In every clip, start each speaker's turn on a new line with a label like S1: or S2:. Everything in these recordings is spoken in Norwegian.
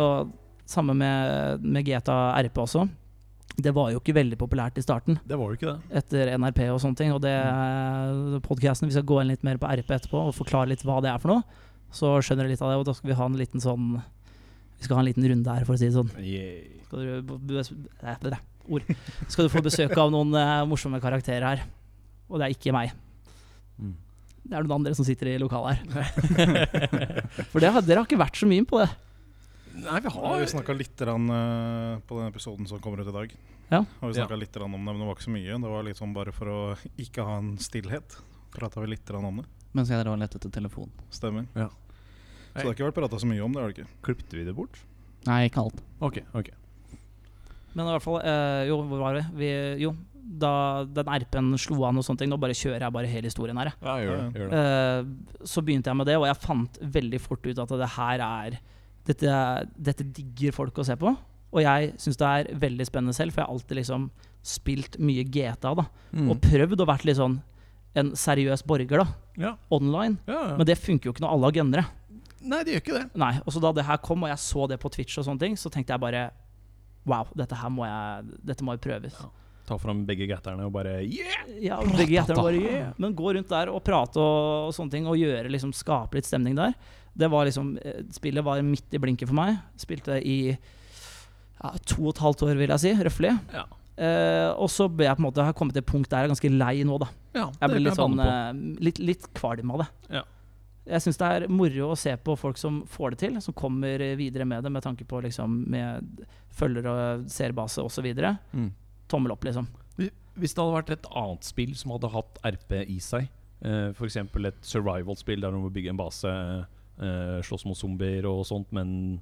S1: Og samme med, med GTA RP også. Det var jo ikke veldig populært i starten,
S2: Det var jo ikke det.
S1: etter NRP og sånne ting. Og det
S3: Mm.
S1: eh, podkasten Vi skal gå inn litt mer på RP etterpå og forklare litt hva det er for noe. Så skjønner du litt av det, og da skal vi ha en liten sånn Vi skal ha en liten runde her, for å si det sånn. Skal du, b- b- bes- eh, det er ord. Skal du få besøk av noen eh, morsomme karakterer her. Og det er ikke meg.
S2: Mm.
S1: Det er noen andre som sitter i lokalet her. For det har, dere har ikke vært så mye på det.
S2: Nei, vi
S4: Har
S2: har
S4: vi snakka litt grann, eh, på den episoden som kommer ut i dag.
S1: Ja.
S4: Har vi snakket litt grann om det, men det var ikke så mye. Det var litt sånn bare for å ikke ha en stillhet. Prata vi litt grann om det.
S3: Mens jeg drar og leter etter telefon.
S4: Stemmer.
S2: Ja.
S4: Så det har ikke vært prata så mye om det, har det ikke?
S2: Klippet vi det bort?
S3: Nei, ikke alt.
S2: Ok, ok.
S1: Men i hvert fall eh, Jo, hvor var vi? vi jo, da den RP-en slo an og sånne ting, nå bare kjører jeg bare hele historien her, jeg.
S2: Ja, gjør det. Gjør det.
S1: Eh, så begynte jeg med det, og jeg fant veldig fort ut at det her er Dette, er- dette digger folk å se på. Og jeg syns det er veldig spennende selv, for jeg har alltid liksom spilt mye GTA. da
S2: Mm.
S1: Og prøvd å vært litt sånn en seriøs borger da
S2: Ja,
S1: online.
S2: ja, ja.
S1: Men det funker jo ikke når alle har gønnere.
S2: Nei, det gjør ikke det.
S1: Nei, og så da det her kom, og jeg så det på Twitch, og sånne ting så tenkte jeg bare Wow, dette her må jeg Dette må jo prøves.
S2: Ja. Ta fram begge gatterne og bare yeah!
S1: Ja, og begge gjeterne bare «Yeah». Men gå rundt der og prate og, og sånne ting, og gjøre liksom skape litt stemning der. Det var liksom eh, Spillet var midt i blinken for meg. Spilte i ja, to og et halvt år, vil jeg si. Røftlig.
S2: Ja.
S1: Eh, og så ble jeg på en måte Har kommet til et punkt der jeg er ganske lei nå, da.
S2: ja
S1: Jeg blir litt sånn
S2: banne på.
S1: eh, litt, litt kvalm av det.
S2: Ja.
S1: Jeg syns det er moro å se på folk som får det til, som kommer videre med det med tanke på liksom med følger og seerbase osv.
S2: Mm.
S1: Tommel opp, liksom.
S2: Hvis- Hvis det hadde vært et annet spill som hadde hatt RP i seg, eh, for f.eks. et survival-spill der du må bygge en base, eh, slåss mot zombier og sånt, men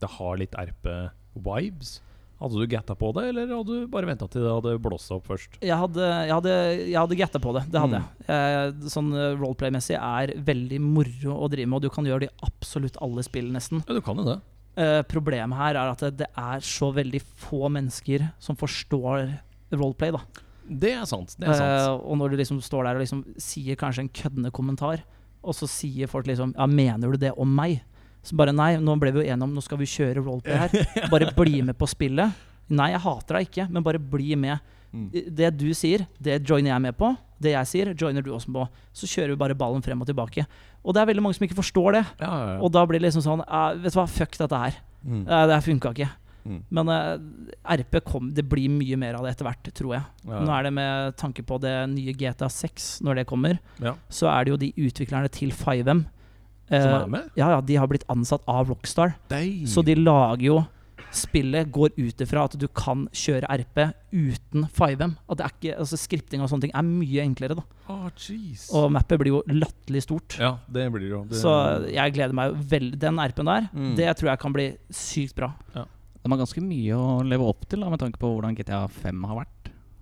S2: det har litt RP-vibes, hadde du gatta på det, eller hadde du bare venta til det hadde blåst opp først?
S1: Jeg hadde, jeg hadde, jeg hadde getta på det. Det hadde
S2: Mm.
S1: jeg. Eh, Sånn eh, roleplay-messig er veldig moro å drive med, og du kan gjøre det i absolutt alle spill, nesten.
S2: Ja, du kan jo det.
S1: Eh, Problemet her er at det- det er så veldig få mennesker som forstår roleplay, da.
S2: Det er sant. Det er sant.
S1: Eh, og når du liksom står der og liksom sier kanskje en køddende kommentar, og så sier folk liksom Ja, mener du det om meg? Så bare nei, nå ble vi jo enige om Nå skal vi kjøre roleplay her. Bare bli med på spillet. Nei, jeg hater deg ikke, men bare bli med. Det du sier, det joiner jeg med på. Det jeg sier, joiner du også på. Så kjører vi bare ballen frem og tilbake. Og det er veldig mange som ikke forstår det.
S2: Ja, ja, ja.
S1: Og da blir det liksom sånn «Eh, Vet du hva, fuck dette her.
S2: Mm.
S1: Eh, Det her funka ikke.
S2: Mm.
S1: Men eh, RP kom, det blir mye mer av det etter hvert, tror jeg.
S2: Ja.
S1: Nå er det med tanke på det nye GTA 6, når det kommer,
S2: Ja.
S1: så er det jo de utviklerne til 5M eh,
S2: Som er med?
S1: Ja, ja, de har blitt ansatt av Rockstar.
S2: Dei.
S1: Så de lager jo Spillet går ut ifra at du kan kjøre RP uten 5M. At det er ikke, altså Skripting og sånne ting er mye enklere, da.
S2: Ah, jeez.
S1: Og mappet blir jo latterlig stort.
S2: Ja, det blir det jo. Det,
S1: Så jeg gleder meg jo veldig. Den RP-en der,
S2: Mm.
S1: det tror jeg kan bli sykt bra.
S3: De har ganske mye å leve opp til da, med tanke på hvordan GTA5 har vært.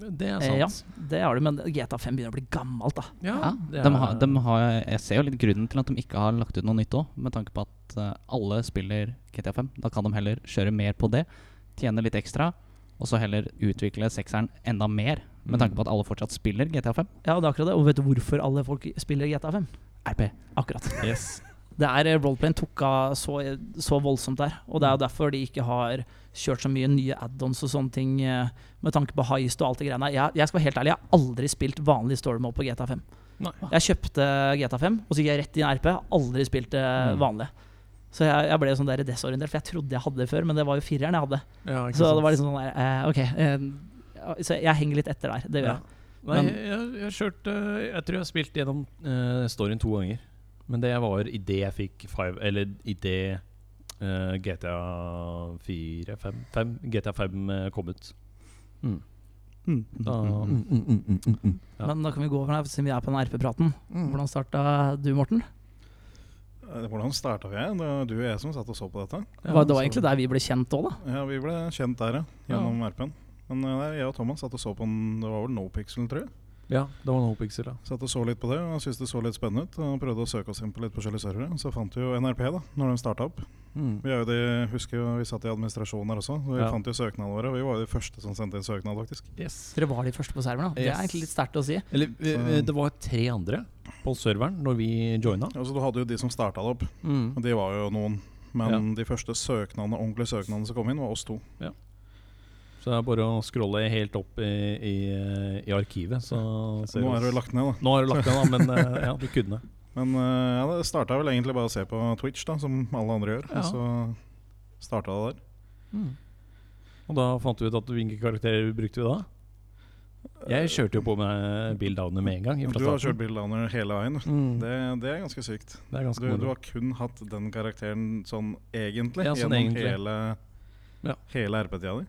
S2: det er
S1: Eh, ja,
S2: sant.
S1: det har du, men GTA5 begynner å bli gammelt, da.
S3: Ja,
S2: det
S3: de
S2: er-
S3: har, de har, jeg ser jo litt grunnen til at de ikke har lagt ut noe nytt òg, med tanke på at eh, alle spiller GTA5. Da kan de heller kjøre mer på det, tjene litt ekstra, og så heller utvikle sekseren enda mer, med tanke på at alle fortsatt spiller GTA5.
S1: Ja, det er akkurat det. Og vet du hvorfor alle folk spiller GTA5?
S3: RP.
S1: Akkurat.
S2: Yes.
S1: Det er eh, Roleplayen tok av så, så voldsomt der. Og
S2: Mm.
S1: det er jo derfor de ikke har kjørt så mye nye add-ons og sånne ting eh, med tanke på heist og alt det greiene. Jeg, jeg skal være helt ærlig, jeg har aldri spilt vanlig story mode på GTA5.
S2: Nei.
S1: Jeg kjøpte GTA5, og så gikk jeg rett inn i RP. Aldri spilt det
S2: Mm.
S1: vanlige. Så jeg, jeg ble sånn der desorientert, for jeg trodde jeg hadde det før, men det var jo fireren jeg hadde.
S2: Ja, ikke
S1: Så
S2: sant.
S1: det var liksom sånn der, eh, ok eh, Så jeg henger litt etter der. Det gjør
S2: Ja.
S1: jeg.
S2: Nei,
S1: Men-
S2: jeg, jeg, har kjørt, eh, jeg tror jeg har spilt gjennom eh, storyen to ganger. Men det var idet jeg fikk five Eller idet uh, GTA 4 5, 5 GTA 5 eh, kom ut. Mm.
S3: Mm.
S1: Mm,
S2: Da, Ja. Mm.
S1: Men da kan vi gå over her, siden vi er på den RP-praten. Hvordan starta du, Morten?
S4: Eh, Hvordan starta vi? Det var du og jeg som satt og så på dette.
S1: Det var, det var egentlig der vi ble kjent òg, da.
S4: Ja, Vi ble kjent der, ja. Gjennom RP-en. Men eh, nei, jeg og Thomas satt og så på den, det var vel NoPixel, tror jeg.
S2: Ja, det var Nopixel, ja.
S4: Satt og så litt på det, og syntes det så litt spennende ut. Og prøvde å søke oss inn på litt forskjellige servere. Så fant vi jo NRP, da, når de starta opp.
S1: Mm.
S4: Vi er jo de, husker jo, vi satt i administrasjonen her også, så vi
S2: Ja.
S4: fant jo søknadene våre. og Vi var jo de første som sendte inn søknad, faktisk.
S2: Yes.
S1: Dere var de første på serveren. da Det er
S2: Yes.
S1: egentlig litt sterkt å si.
S2: Eller vi-
S4: Så-
S2: vi- det var tre andre på serveren når vi joina.
S4: Mm. Altså, du hadde jo de som starta det opp, og de var jo noen. men
S2: Ja.
S4: de første søknadene, ordentlige søknadene som kom inn, var oss to.
S2: Så det er bare å scrolle helt opp i, i, i arkivet, så ser
S4: Nå
S2: vi
S4: er
S2: oss.
S4: det lagt ned, da.
S2: Nå har du lagt den, da, men eh, ja, du kunne.
S4: Men eh, ja, det starta vel egentlig bare å se på Twitch, da, som alle andre gjør.
S2: Ja.
S4: Og så starta det der.
S1: Mm.
S2: Og da fant vi ut at hvilke karakterer brukte vi da? Jeg kjørte jo på med Bill Downer med en gang.
S4: Du
S2: ifra
S4: har
S2: starten.
S4: kjørt Bill Downer hele veien.
S2: Mm.
S4: Det, det er ganske sykt.
S2: Det er
S4: Du,
S2: ganske
S4: du
S2: moro.
S4: har kun hatt den karakteren sånn egentlig
S2: Ja, sånn
S4: gjennom
S2: egentlig.
S4: hele,
S2: Ja.
S4: hele RP-tida di.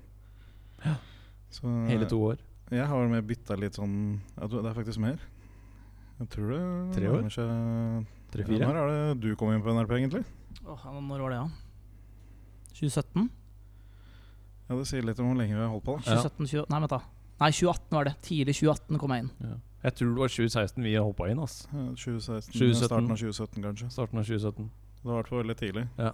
S4: Så eh,
S2: Hele to år.
S4: jeg har vel med bytta litt sånn ja, du- Det er faktisk mer. Jeg tror det
S2: Tre år?
S4: nærmer seg- Ja,
S2: Tre-fire.
S4: Når er det du kom inn på NRP, egentlig?
S1: Åh, ja, når var det, da? 2017?
S4: Ja, Det sier litt om hvor lenge vi har holdt på. da
S1: 2017, 20, nei, vent da. Nei, 2018 var det. Tidlig 2018 kom jeg inn.
S2: Ja. Jeg tror det var 2016 vi hoppa inn. ass
S4: Ja, 2016,
S2: 2017.
S4: Starten av 2017, kanskje.
S2: Starten av 2017.
S4: Det var i hvert fall veldig tidlig.
S2: Ja.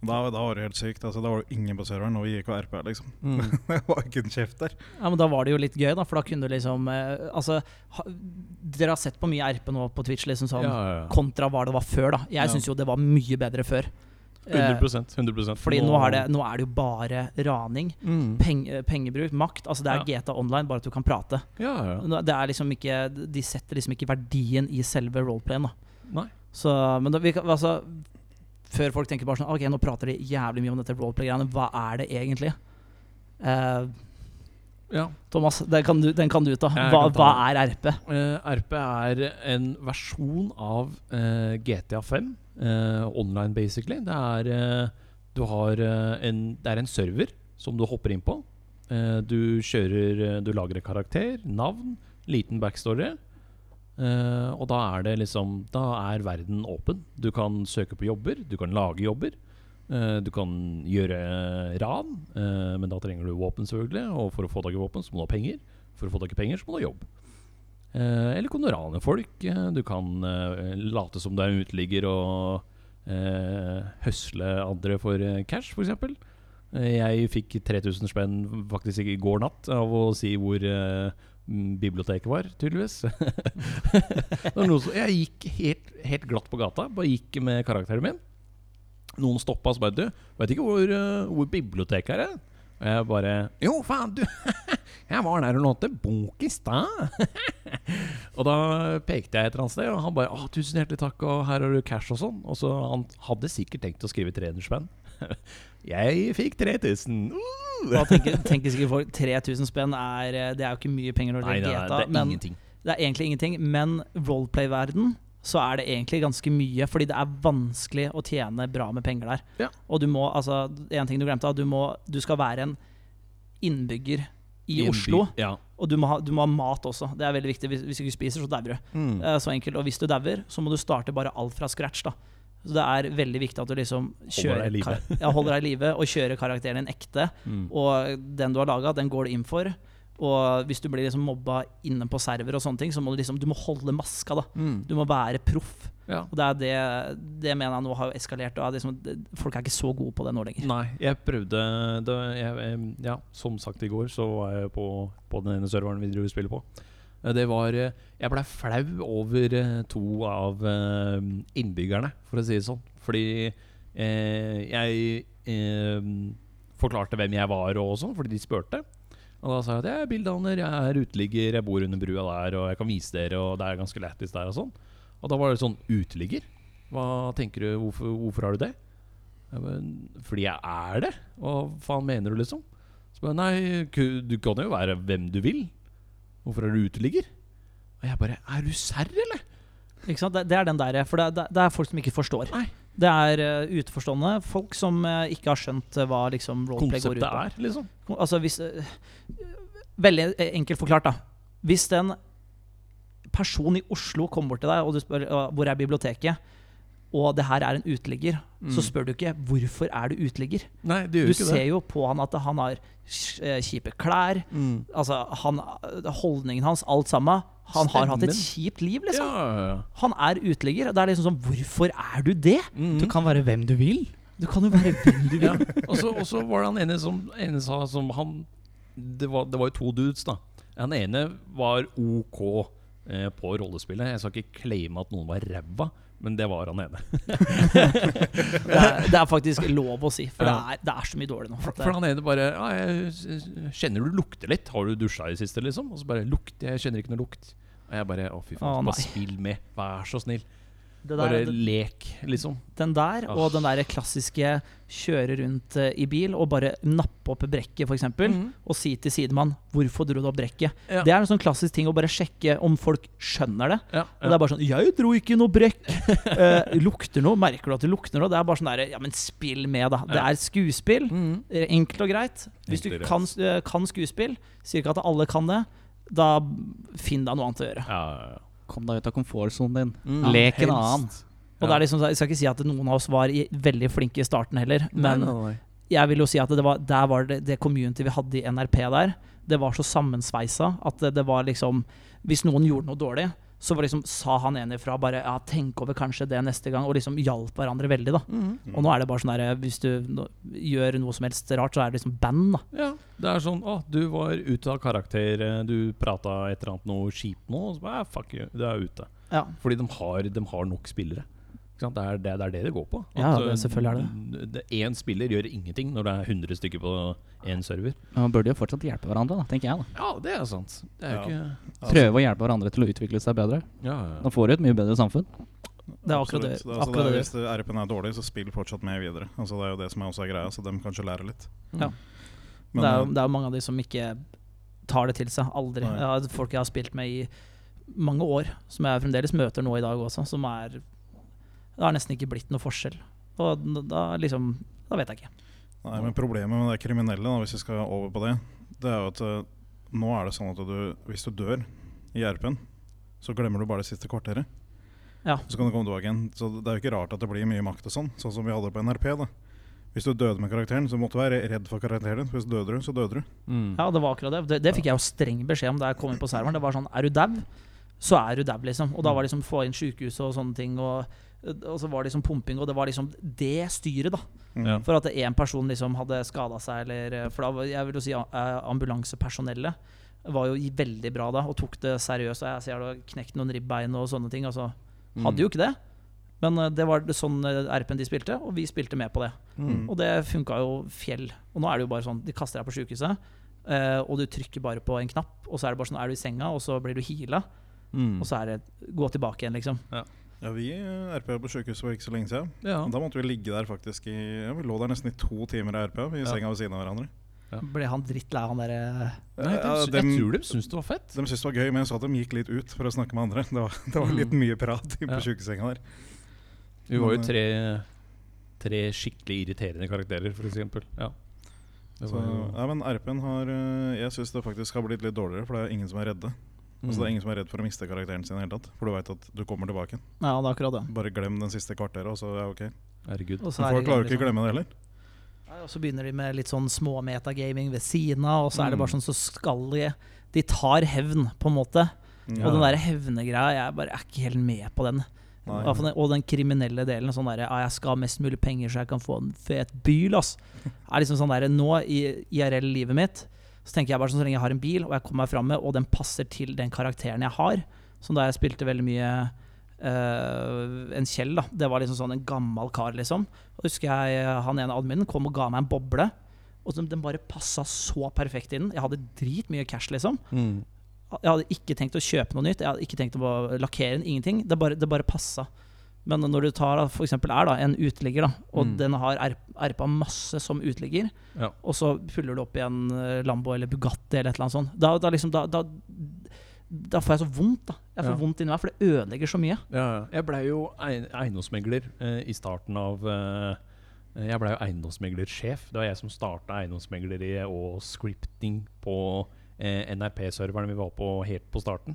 S4: Da, da var det helt sykt. Altså, da var det ingen på serveren, og vi gikk og RP, liksom.
S1: Mm.
S4: Det var ikke en kjeft der.
S1: Ja, men Da var det jo litt gøy, da, for da kunne du liksom eh, Altså, ha, dere har sett på mye RP nå på Twitch, liksom
S2: Ja,
S1: sånn,
S2: ja, ja.
S1: kontra hva det var før, da. Jeg
S4: Ja.
S1: syns jo det var mye bedre før. Eh,
S2: 100 100
S1: fordi nå, har det, nå er det jo bare raning,
S2: Mm.
S1: peng, eh, pengebruk, makt. Altså det er GTA Online, bare at du kan prate.
S2: Ja, ja. ja.
S1: Nå- Det er liksom ikke, de setter liksom ikke verdien i selve roleplayen, da.
S2: Nei.
S1: Så, men da, vi, kan- altså Før folk tenker bare sånn Ok, nå prater de jævlig mye om dette roleplay-greiene. Hva er det egentlig? Eh,
S2: Ja.
S1: Thomas, den kan du, den kan du ta.
S2: Jeg
S1: Hva,
S2: kan ta
S1: hva er RP?
S2: Eh, RP er en versjon av eh, GTA 5. eh, online, basically. Det er, eh, du har, eh, en, det er en server som du hopper inn på. Eh, du kjører eh, Du lagrer karakter, navn, liten backstory. Eh, og da er det liksom Da er verden åpen. Du kan søke på jobber, du kan lage jobber. eh, du kan gjøre eh, ran, eh, men da trenger du våpen, selvfølgelig. Og for å få tak i våpen, så må du ha penger. For å få tak i penger, så må du ha jobb. Eh, eller kan du rane folk? Eh, Du kan eh, late som du er en uteligger og eh, høsle andre for eh, cash, f.eks. Jeg fikk 3000 spenn faktisk ikke i går natt av å si hvor eh, m, biblioteket var, tydeligvis. Det var noen som, jeg gikk helt, helt glatt på gata, bare gikk med karakteren min. Noen stoppa og så bare Du, veit ikke hvor, eh, hvor biblioteket er? jeg?» Og jeg bare Jo, faen, du! Jeg var der og lånte bok i stad. Og da pekte jeg et eller annet sted, og han bare «Å, 'Tusen hjertelig takk, og her har du cash' og sånn. Og så Han hadde sikkert tenkt å skrive 300 spenn. jeg fikk 3000! Uh!
S1: Da tenker, tenker sikkert folk 3000 spenn er eh, Det er jo ikke mye penger når det
S2: Nei,
S1: er
S2: nei, nei,
S1: GTA,
S2: det er
S1: men
S2: ingenting.
S1: det er egentlig ingenting. Men roleplay-verden så er det egentlig ganske mye, fordi det er vanskelig å tjene bra med penger der.
S2: Ja.
S1: Og du må, altså, en ting du glemte, er at du, må, du skal være en innbygger i,
S2: en by.
S1: Oslo.
S2: Ja.
S1: Og du må, ha, du må ha mat også. Det er veldig viktig. Hvis, hvis du ikke spiser, så dauer du.
S2: Mm.
S1: Eh, Så enkelt. Og hvis du dauer, så må du starte bare alt fra scratch. da så det er veldig viktig at du liksom kjører
S2: deg i live.
S1: kar- ja, holder deg i live og kjører karakteren din ekte. Og den du har laga, den går du inn for. Og hvis du blir liksom mobba inne på server, og sånne ting så må du liksom Du må holde maska. da
S2: Mm.
S1: Du må være proff.
S2: ja.
S1: Og det er det, det mener jeg nå har eskalert. Og er liksom, det- folk er ikke så gode på det nå lenger.
S2: Nei, jeg prøvde det, jeg, em, Ja, som sagt i går så var jeg på, på den ene serveren vi driver og spiller på. Eh, Det var eh, Jeg blei flau over eh, to av eh, innbyggerne, for å si det sånn. Fordi eh, jeg eh, forklarte hvem jeg var og sånn, fordi de spurte. Og da sa jeg at jeg er bildanner, jeg er uteligger, jeg bor under brua der, og jeg kan vise dere, og det er ganske lættis der og sånn. Og da var det sånn Uteligger? Hva tenker du, hvorfor, hvorfor har du det? Jeg bare, Fordi jeg er det? Hva faen mener du, liksom? Så bare, Nei, ku- du kan jo være hvem du vil. Hvorfor er du uteligger? Og jeg bare Er du serr, eller?
S1: Ikke sant? Det, det er den der, for det, det, det er folk som ikke forstår.
S2: Nei.
S1: Det er eh, utenforstående folk som eh, ikke har skjønt eh, hva liksom roleplay går ut
S2: Konseptet
S1: på.
S2: er, liksom.
S1: Kon- Altså hvis eh, Veldig eh, enkelt forklart, da. Hvis en person i Oslo kommer bort til deg og du spør eh, hvor er biblioteket, og det her er en uteligger, så spør du ikke hvorfor er du uteligger.
S2: Nei, det
S1: Du
S2: Mm. gjør jo ikke
S1: ser
S2: det.
S1: jo på han at han har sk- eh, kjipe klær,
S2: Mm.
S1: altså han, holdningen hans, alt sammen. Han har hatt et kjipt liv,
S2: Ja,
S1: liksom.
S2: ja, ja.
S1: Han er uteligger. og Det er liksom sånn Hvorfor er du det?
S3: Du kan være hvem du vil.
S1: Du kan jo være hvem du vil.
S2: Mm. Ja. Og så- Og så var det han ene som, ene sa som han det var, det var jo to dudes, da. Han ene var OK eh, på rollespillet. Jeg skal ikke claime at noen var ræva, Men det var han ene.
S1: Det er, det er faktisk lov å si, for
S2: Ja.
S1: det, er, det er så mye dårlig nå.
S2: For,
S1: at
S2: for
S1: det-
S2: han ene bare ja, jeg, s- s- 'Kjenner du lukter litt? Har du dusja i det siste?' liksom? Og så bare 'Lukt? Jeg kjenner ikke noe lukt'. Og jeg bare 'Å, fy
S1: Å,
S2: faen,
S1: nei.
S2: bare spill med. Vær så snill.
S1: det der,
S2: Bare
S1: det-
S2: lek, liksom.
S1: Den der,
S2: Ah.
S1: og den der klassiske kjøre rundt eh, i bil og bare nappe opp brekket, f.eks., eksempel
S2: Mhm.
S1: og si til sidemann 'Hvorfor dro du opp brekket?'
S2: Ja.
S1: Det er en sånn klassisk ting å bare sjekke om folk skjønner det.
S2: Ja,
S1: Og det er bare sånn 'Jeg dro ikke noe brekk'. Eh, lukter noe? Merker du at det lukter noe? Det er bare sånn der, Ja, men spill med, da. Det
S2: Ja.
S1: er skuespill.
S2: Mhm.
S1: Eh, Enkelt og greit. Hvis
S2: Enkelt
S1: du
S2: og greit.
S1: kan, eh, kan skuespill, sier ikke at alle kan det, da finn deg noe annet å gjøre.
S2: ja, ja, ja.
S3: Kom deg ut av komfortsonen din.
S1: Mhm.
S2: Mm.
S3: Lek en
S1: helst.
S3: annen.
S1: Og det er liksom, Jeg skal ikke si at noen av oss var i, veldig flinke i starten heller, men jeg vil jo si at det var, der var det, det community vi hadde i NRP der, det var så sammensveisa at det, det var liksom Hvis noen gjorde noe dårlig, så var liksom, sa han ene ifra bare ja, tenk over kanskje det neste gang, og liksom hjalp hverandre veldig, da. Og nå er det bare sånn derre hvis du nå, gjør noe som helst rart, så er det liksom band, da.
S2: Ja, det er sånn Å, du var ute av karakter, eh, du prata et eller annet noe kjipt nå, og så bare «Ja, fuck you, du er ute.
S1: Ja.
S2: Fordi de har, de har nok spillere. Ikke sant? Det, er det, det er det det går på. eh,
S1: Ja, det- selvfølgelig er
S2: det Én spiller gjør ingenting når det er 100 stykker på én server.
S3: Men man burde jo fortsatt hjelpe hverandre, da, tenker jeg. da
S2: Ja, det er sant. Det er jo
S4: Ja. altså,
S2: ikke
S3: Prøve å hjelpe hverandre til å utvikle seg bedre.
S2: ja,
S3: Da får du et mye bedre samfunn.
S1: Det er akkurat det.
S4: Absolutt. Altså,
S1: akkurat
S4: det er,
S1: det.
S4: hvis det- RP-en er dårlig, så spill fortsatt med videre. Altså, det er jo det som er også er greia, så de kanskje lærer litt.
S1: Ja. det,
S4: Men, eh,
S1: er, jo- det er jo mange av de som ikke tar det til seg. Aldri.
S4: Nei.
S1: Jeg har folk jeg har spilt med i mange år, som jeg fremdeles møter nå i dag også, som er Det har nesten ikke blitt noe forskjell. Og n- da liksom Da vet jeg ikke.
S4: Nei, men problemet med det kriminelle, da, hvis vi skal over på det, det er jo at eh, nå er det sånn at du, hvis du dør i RP-en, så glemmer du bare det siste kvarteret.
S1: Ja.
S4: Så kan du komme tilbake igjen. Så det er jo ikke rart at det blir mye makt og sånn, sånn som vi hadde på NRP. da. Hvis du døde med karakteren, så måtte du være redd for karakteren. Hvis du døde, du, så døde du.
S2: Mm.
S1: Ja, det var akkurat det. Det, det fikk jeg jo streng beskjed om da jeg kom inn på serveren. Det var sånn Er du dau, så er du dau, liksom.
S4: Mm.
S1: Og da var det liksom få inn sykehuset og sånne ting. Og, og så var det liksom pumping, og det var liksom det styret, da.
S4: Mm.
S2: Ja.
S1: For at én person liksom hadde skada seg, eller For da, var- jeg vil jo si eh, ambulansepersonellet var jo i- veldig bra da, og tok det seriøst. Og jeg ser du har knekt noen ribbein og sånne ting. Altså,
S4: Mm.
S1: hadde jo ikke det. Men eh, det var det sånn eh, RP-en de spilte, og vi spilte med på det.
S4: Mm.
S1: Og det funka jo fjell. Og nå er det jo bare sånn, de kaster deg på sjukehuset, eh, og du trykker bare på en knapp, og så er det bare sånn, er du i senga, og så blir du heala,
S4: Mm.
S2: Mm.
S1: og så er det gå tilbake igjen, liksom.
S4: Ja, vi eh, RP på sykehuset for ikke så lenge siden.
S2: Ja.
S4: Da måtte vi ligge der faktisk i ja, Vi lå der nesten i to timer i RP, i
S2: Ja.
S4: senga ved siden av hverandre.
S1: Ble han drittlei, han eh, derre
S2: Nei, de,
S4: Ja,
S2: sy-
S4: dem-
S2: jeg tror de syns det var fett.
S4: De syntes det var gøy, men jeg så at de gikk litt ut for å snakke med andre. Det var, det var litt mye prat på
S2: Mm. Ja.
S4: sykesenga der.
S2: Vi var jo
S4: Men, eh,
S2: tre, tre skikkelig irriterende karakterer, for eksempel. Ja. Det
S4: Så,
S2: var jo
S4: ja, men RP-en har eh, Jeg syns det faktisk har blitt litt dårligere, for det er ingen som er redde.
S2: Mm.
S4: Altså, det er ingen som er redd for å miste karakteren sin i det hele tatt. For du veit at du kommer tilbake.
S1: Ja, det er akkurat det.
S4: Bare glem den siste kvarteret, og så er det ok.
S2: Herregud.
S1: Og så
S4: Mm. Men
S1: er det
S4: folk klarer jo
S1: liksom-
S4: ikke å glemme det heller.
S1: Nei, Og så begynner de med litt sånn små metagaming ved siden av, og så er det bare sånn så skal de De tar hevn, på en måte.
S4: Mm.
S1: Og den der hevnegreia, jeg bare er ikke helt med på den.
S4: Nei.
S1: Hvertfall den- Og den kriminelle delen. Sånn derre «Ah, 'Jeg skal ha mest mulig penger så jeg kan få en fet bil', ass. Er liksom sånn derre Nå i IRL-livet mitt, så tenker jeg bare sånn så lenge jeg har en bil, og jeg kommer meg fram med, og den passer til den karakteren jeg har, som da jeg spilte veldig mye eh, en Kjell, da. Det var liksom sånn en gammel kar, liksom. Og husker jeg eh, han ene adminen kom og ga meg en boble. Og som den bare passa så perfekt inn. Jeg hadde dritmye cash, liksom.
S2: Mm.
S1: Jeg hadde ikke tenkt å kjøpe noe nytt. Jeg hadde ikke tenkt å bare lakkere den. Ingenting. Det bare, det bare passa. Men når du tar da, for eksempel er da, en uteligger, da, og
S2: Mm.
S1: den har erpa masse som uteligger,
S2: Ja.
S1: og så fyller du opp i en eh, Lambo eller Bugatti eller et eller annet sånt, da, da, liksom, da, da, da får jeg så vondt. da Jeg får
S2: Ja.
S1: vondt inni meg, for det ødelegger så mye.
S2: Ja, ja. jeg blei jo ein- eiendomsmegler eh, i starten av eh, Jeg blei jo eiendomsmeglersjef. Det var jeg som starta eiendomsmegleriet og scripting på eh, NRP-serveren vi var på helt på starten.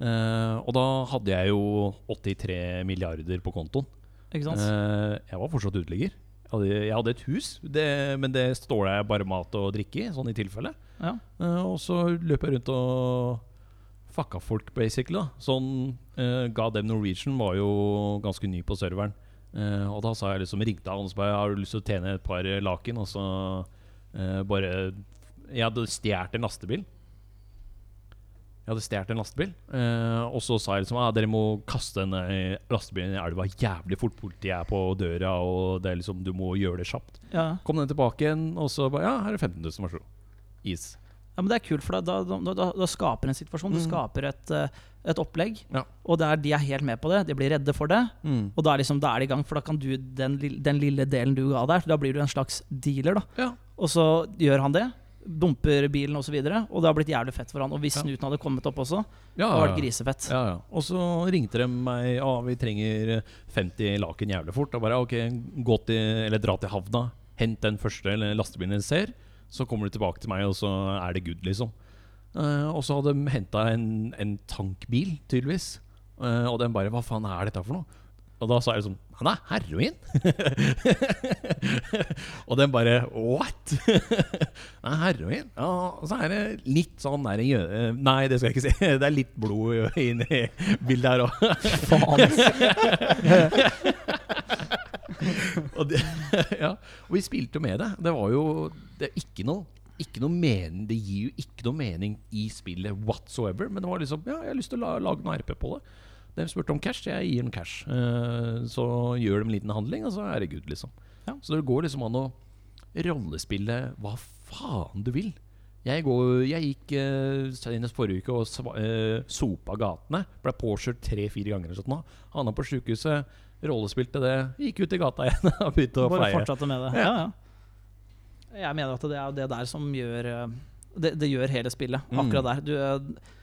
S2: Eh, og da hadde jeg jo 83 milliarder på kontoen.
S1: Ikke sant?
S2: Eh, jeg var fortsatt uteligger. Jeg hadde, jeg hadde et hus, det, men det ståla jeg bare mat og drikke i, sånn i tilfelle.
S1: Ja.
S2: Eh, og så løp jeg rundt og fucka folk, basically. da Sånn eh, God Damn Norwegian var jo ganske ny på serveren. Eh, og da sa jeg liksom ringte han og så bare Har du lyst til å tjene et par laken? Og så eh, bare Jeg hadde stjålet en lastebil. Jeg Jeg hadde stjålet en lastebil, eh, og så sa jeg liksom ah, dere må kaste den eh, lastebilen i elva jævlig fort. Politiet er på døra, og det er liksom, du må gjøre det kjapt.
S1: Ja.
S2: Kom den tilbake igjen, og så bare Ja, her er 15 000, vær så god. Is.
S1: ja, men det er kult, for da, da, da, da, da skaper en situasjon. Du
S2: Mm.
S1: skaper et, eh, et opplegg,
S2: Ja.
S1: og der de er helt med på det. De blir redde for det, og da er, liksom, da er de i gang. For da kan du den, lill- den lille delen du ga der, da blir du en slags dealer, da.
S2: Ja.
S1: Og så gjør han det. Dumper bilen osv. Og, så videre, og det har blitt jævlig fett for han. Og hvis
S2: Ja. Ah.
S1: snuten hadde kommet opp også,
S2: Ja,
S1: det hadde vært grisefett.
S2: Ja, ja. Og så ringte de meg Ja, vi trenger 50 laken jævlig fort. Og bare ok, gå til, eller dra til havna, hent den første eller lastebilen dere ser. Så kommer du tilbake til meg, og så er det good, liksom. Eh, og så hadde de henta en, en tankbil, tydeligvis. Eh, og den bare Hva faen er dette for noe? Og da sa jeg liksom Han er heroin! og den bare What?! Nei, heroin. Ja, og så er det litt sånn der, jø- Nei, det skal jeg ikke si. Det er litt blod inni bildet her òg.
S3: Faen, ass.
S2: Og, det- ja. og vi spilte jo med det. Det var jo det er ikke noe ikke noe mening, Det gir jo ikke noe mening i spillet whatsoever. Men det var liksom Ja, jeg har lyst til å la, lage noe RP på det. De spurte om cash, jeg gir dem cash. Eh, så gjør de en liten handling, og så er det good, liksom.
S1: Ja.
S2: Så det går liksom an å rollespille hva faen du vil. Jeg, går, jeg gikk eh, senest forrige uke og sva, eh, sopa gatene. Ble påkjørt tre-fire ganger. eller sånt nå. Havna på sjukehuset, rollespilte det, gikk ut i gata igjen og begynte å
S1: Bare
S2: feie.
S1: fortsette med det. Ja, ja. Jeg mener at det er jo det der som gjør eh, Det, det gjør hele spillet,
S2: Mm.
S1: akkurat der. Du, eh,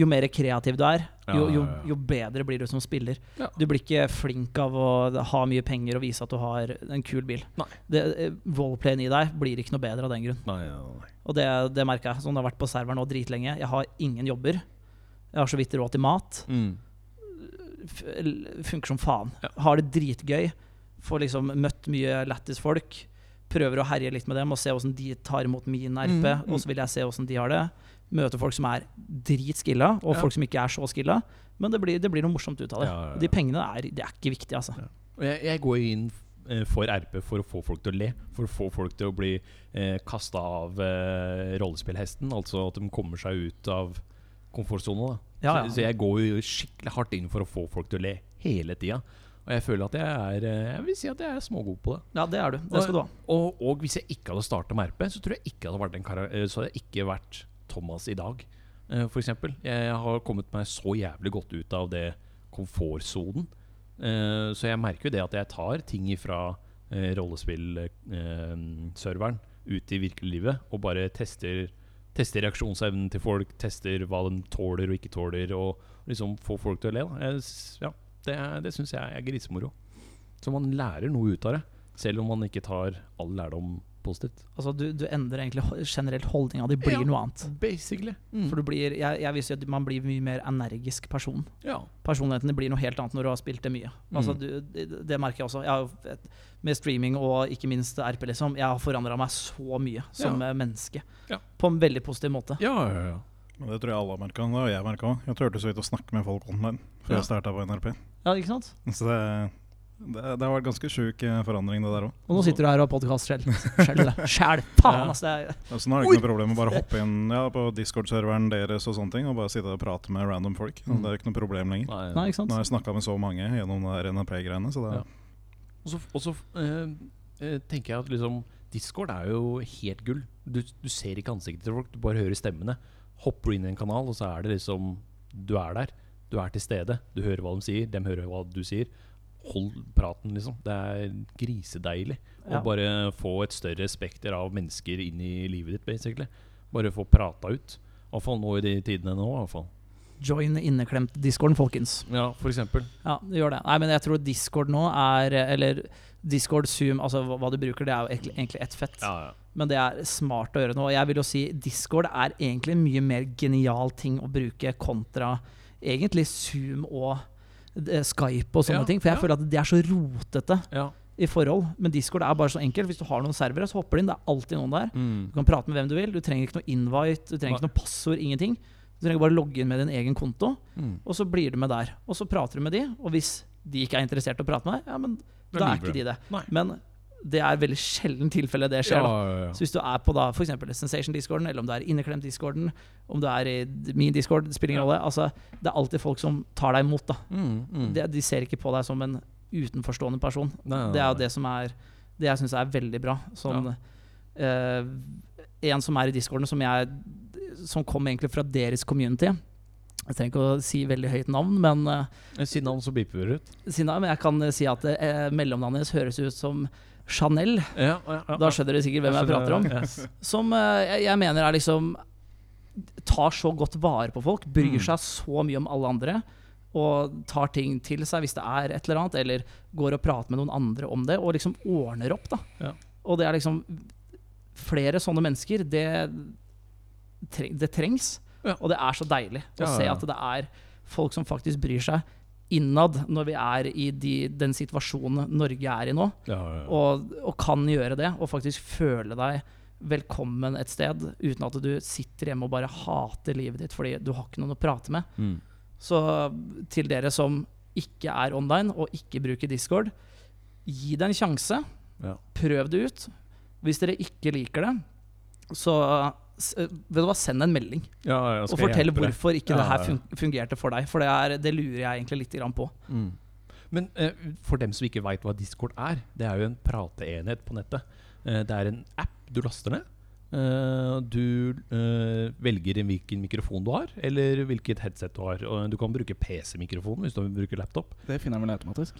S1: jo mer kreativ du er, jo,
S2: Ja,
S1: jo,
S2: ja, ja.
S1: jo bedre blir du som spiller.
S2: Ja.
S1: Du blir ikke flink av å ha mye penger og vise at du har en kul bil.
S2: Nei.
S1: Det, eh, roleplayen i deg blir ikke noe bedre av den grunn.
S2: Nei, nei, nei.
S1: Og det, det merker jeg. Sånn det har vært på serveren nå dritlenge. Jeg har ingen jobber. Jeg har så vidt råd til mat.
S2: Mm.
S1: F- l- Funker som faen.
S2: Ja.
S1: Har det dritgøy. Får liksom møtt mye lættis folk. Prøver å herje litt med dem og se hvordan de tar imot min RP.
S2: Mm, mm.
S1: Og så vil jeg se hvordan de har det. Møter folk som er dritskilla, og
S2: Ja.
S1: folk som ikke er så skilla. Men det blir, det blir noe morsomt ut av det.
S2: Ja, ja, ja.
S1: Og de pengene er, det er ikke viktig, altså.
S2: Og jeg, jeg går jo inn eh, for RP for å få folk til å le. For å få folk til å bli eh, kasta av eh, rollespillhesten. Altså at de kommer seg ut av komfortsona. da.
S1: Ja,
S2: Så,
S1: ja.
S2: så jeg går jo skikkelig hardt inn for å få folk til å le hele tida. Og jeg føler at jeg er eh, Jeg vil si at jeg er smågod på det.
S1: Ja, det er du. Det skal du ha.
S2: Og, og hvis jeg ikke hadde starta med RP, så tror jeg ikke jeg hadde vært den kara- eh, så hadde jeg ikke vært Thomas i dag, eh, for eksempel Jeg har kommet meg så jævlig godt ut av det komfortsonen. Eh, Så jeg merker jo det at jeg tar ting eh, fra rollespillserveren eh, ut i virkelig livet og bare tester, tester reaksjonsevnen til folk, tester hva de tåler og ikke tåler, og liksom får folk til å le. Da. Jeg, s- ja, det er- det syns jeg er grisemoro. Så man lærer noe ut av det. Selv om man ikke tar all lærdom positivt.
S1: Altså, du, du endrer egentlig ho- generelt holdninga di, blir
S2: Ja. Mm.
S1: noe annet.
S2: Basically.
S1: For du blir, jeg, jeg vil si at man blir mye mer energisk person.
S2: Ja.
S1: Personligheten din blir noe helt annet når du har spilt det mye. Altså,
S2: Mm.
S1: du, det, det merker jeg også. Jeg har, jo et- med streaming og ikke minst RP, liksom, jeg har forandra meg så mye som eh, menneske.
S2: Ja.
S1: På en veldig positiv måte.
S2: Ja, ja, ja.
S4: Men det tror jeg alle har merka. Det har jeg merka òg. Jeg turte så vidt å snakke med folk online før
S2: Ja.
S4: jeg starta på NRP.
S1: Ja, ikke sant?
S4: Så det, det, det har vært ganske sjuk eh, forandring, det der òg.
S1: Og nå sitter du her og har podkast selv. Skjell det. Skjell!
S2: Ja.
S1: Faen, altså! Det er,
S4: Så nå er det ikke noe problem å bare hoppe inn ja, på Discord-serveren deres og sånne ting og bare sitte og prate med random folk.
S2: Mm.
S4: Det er ikke noe problem lenger.
S2: Nei,
S1: nei, ikke
S4: Nå
S1: sant?
S4: har jeg snakka med så mange gjennom det her NRP-greiene, så det
S2: Ja. Og så, og så eh, eh, tenker jeg at liksom Discord er jo helt gull. Du, du ser ikke ansiktet til folk, du bare hører stemmene. Hopper du inn i en kanal, og så er det liksom Du er der. Du er til stede. Du hører hva de sier, de hører hva du sier. Hold praten, liksom. Det er grisedeilig å
S1: Ja.
S2: bare få et større spekter av mennesker inn i livet ditt, basically. Bare få prata ut. Iallfall nå i de tidene nå, iallfall.
S1: Join inneklemt-discorden, folkens.
S2: Ja, for eksempel.
S1: Ja, det gjør det. Nei, men jeg tror Discord nå er Eller Discord, Zoom, altså hva hva du bruker, det er jo egentlig- egentlig ett fett.
S2: Ja, ja.
S1: Men det er smart å gjøre nå. Og Jeg vil jo si Discord er egentlig en mye mer genial ting å bruke kontra egentlig Zoom og eh, Skype og sånne
S2: Ja,
S1: ting. For jeg
S2: ja.
S1: føler at det er så rotete
S2: ja.
S1: i forhold. Men Discord er bare så enkelt. Hvis du har noen servere, så hopper du inn. Det er alltid noen der.
S2: Mm.
S1: Du kan prate med hvem du vil. Du trenger ikke noe invite, du trenger ikke noe passord, ingenting. Du trenger bare logge inn med din egen konto,
S2: Mm.
S1: og så blir du med der. Og så prater du med de, og hvis de ikke er interessert i å prate med deg, ja, men
S2: Da
S1: da er
S2: lyver
S1: ikke de det.
S2: Nei.
S1: Men det er veldig sjelden tilfelle det skjer. da.
S2: ja, ja.
S1: Så hvis du er på da for eksempel Sensation-discorden, eller om det er inneklemt-discorden, om det er i d- min discord, det spiller ingen rolle. Altså, det er alltid folk som tar deg imot. da.
S2: Mm, mm.
S1: De, de ser ikke på deg som en utenforstående person.
S2: Nei, nei,
S1: Det er jo
S2: nei.
S1: det som er Det jeg syns er veldig bra. Sånn, eh, en som er i discorden, som jeg Som kom egentlig fra deres community. Jeg trenger ikke å si veldig høyt navn, men eh,
S2: Si navn, så beeper vi det ut.
S1: Sina, men jeg kan eh, si at eh, mellomnavnet hennes høres ut som Chanel.
S2: Ja, ja, ja,
S1: Da
S2: ja.
S1: skjønner du sikkert hvem jeg prater om.
S2: Yes.
S1: Som eh, jeg, jeg mener er liksom Tar så godt vare på folk, bryr
S2: Mm.
S1: seg så mye om alle andre. Og tar ting til seg hvis det er et eller annet, eller går og prater med noen andre om det. Og liksom ordner opp, da.
S2: Ja.
S1: Og det er liksom Flere sånne mennesker, det, treng, det trengs.
S2: Ja.
S1: Og det er så deilig å
S2: Ja, ja,
S1: se
S2: ja.
S1: at det er folk som faktisk bryr seg innad når vi er i de, den situasjonen Norge er i nå
S2: Ja, ja, ja.
S1: og, og kan gjøre det, og faktisk føle deg velkommen et sted, uten at du sitter hjemme og bare hater livet ditt fordi du har ikke noen å prate med.
S2: Mm.
S1: Så til dere som ikke er online og ikke bruker Discord, gi det en sjanse.
S2: Ja.
S1: Prøv det ut. Hvis dere ikke liker det, så s- eh, vet du hva, send en melding.
S2: Ja, ja, skal
S1: Og
S2: jeg
S1: fortell
S2: hjelpe deg?
S1: hvorfor ikke
S2: Ja,
S1: det her
S2: ja.
S1: fun- fungerte for deg. For det, er, det lurer jeg egentlig litt grann på.
S2: Mm. Men eh, for dem som ikke veit hva Discord er, det er jo en prateenhet på nettet. Eh, det er en app du laster ned. Eh, du eh, velger en hvilken mikrofon du har, eller hvilket headset du har. Og du kan bruke PC-mikrofon hvis du bruker laptop.
S3: Det finner jeg vel automatisk.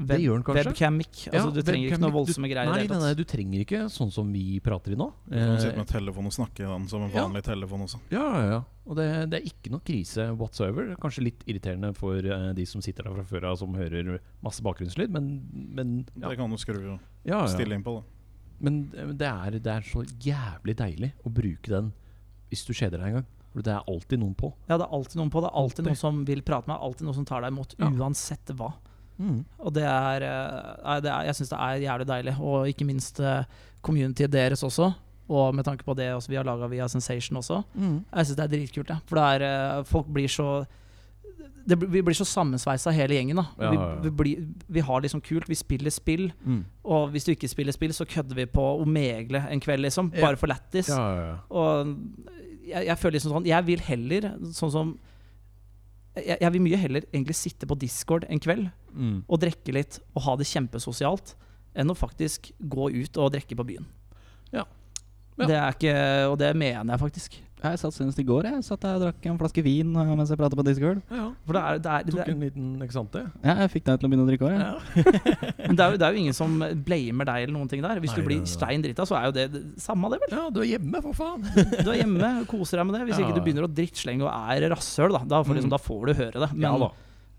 S1: Web-
S2: gjør den kanskje.
S1: Webcam-mic. Altså,
S2: Ja,
S1: du trenger
S2: webcam-
S1: ikke noe
S2: du-
S1: voldsomme greier. i
S2: Nei,
S1: det hele
S2: nei,
S1: tatt.
S2: nei, du trenger ikke sånn som vi prater i nå.
S4: Du kan sitte
S2: Eh,
S4: med telefon og snakke i den som en
S2: ja.
S4: vanlig telefon også.
S2: Ja, ja, ja. Og det, det er ikke noe krise whatsoever. Det er Kanskje litt irriterende for eh, de som sitter der fra før av, som hører masse bakgrunnslyd, men, men ja.
S4: Det kan du skru og
S2: Ja, ja.
S4: stille inn på. da
S2: Men eh, det er, det er så jævlig deilig å bruke den hvis du kjeder deg en gang. For det er alltid noen på.
S1: Ja, det er alltid noen på. Det er alltid
S2: Alltid.
S1: noen som vil prate med deg, alltid noen som tar deg imot,
S2: Ja.
S1: uansett hva. Og det er, eh, nei, det er Jeg syns det er jævlig deilig. Og ikke minst eh, communityet deres også. Og med tanke på det også vi har laga via Sensation også. Jeg syns det er dritkult. Ja. For det er, eh, folk blir så det, blir- Vi blir så sammensveisa hele gjengen. Da.
S2: Ja, ja, ja.
S1: Vi, vi, blir, vi har liksom kult. Vi spiller spill. Og hvis du ikke spiller spill, så kødder vi på Omegle en kveld, liksom.
S2: Ja.
S1: Bare for lættis.
S2: Ja, ja, ja.
S1: Og jeg, jeg føler liksom sånn Jeg vil heller sånn som jeg, jeg vil mye heller egentlig sitte på Discord en kveld og drikke litt og ha det kjempesosialt, enn å faktisk gå ut og drikke på byen.
S2: Ja. Ja.
S1: Det er ikke Og det mener jeg faktisk.
S3: Jeg satt senest i går jeg satt der og drakk en flaske vin eh, mens jeg pratet på Discord.
S2: ja, ja.
S1: For det er, det er, det
S2: Tok
S1: er,
S2: en liten, ikke sant det?
S3: Ja, jeg fikk deg til å begynne å drikke òg.
S1: men det er, jo- det er jo ingen som blamer deg eller noen ting der. Hvis
S2: Nei,
S1: du
S2: nei, nei.
S1: blir stein drita, så er jo det det- samme det, vel.
S2: Ja, du er hjemme, for faen!
S1: Du er hjemme, koser deg med det. Hvis
S2: Ja.
S1: ikke du begynner å drittslenge og er rasshøl, da, da, får liksom,
S2: Mm.
S1: da får du høre det. Men
S2: ja da.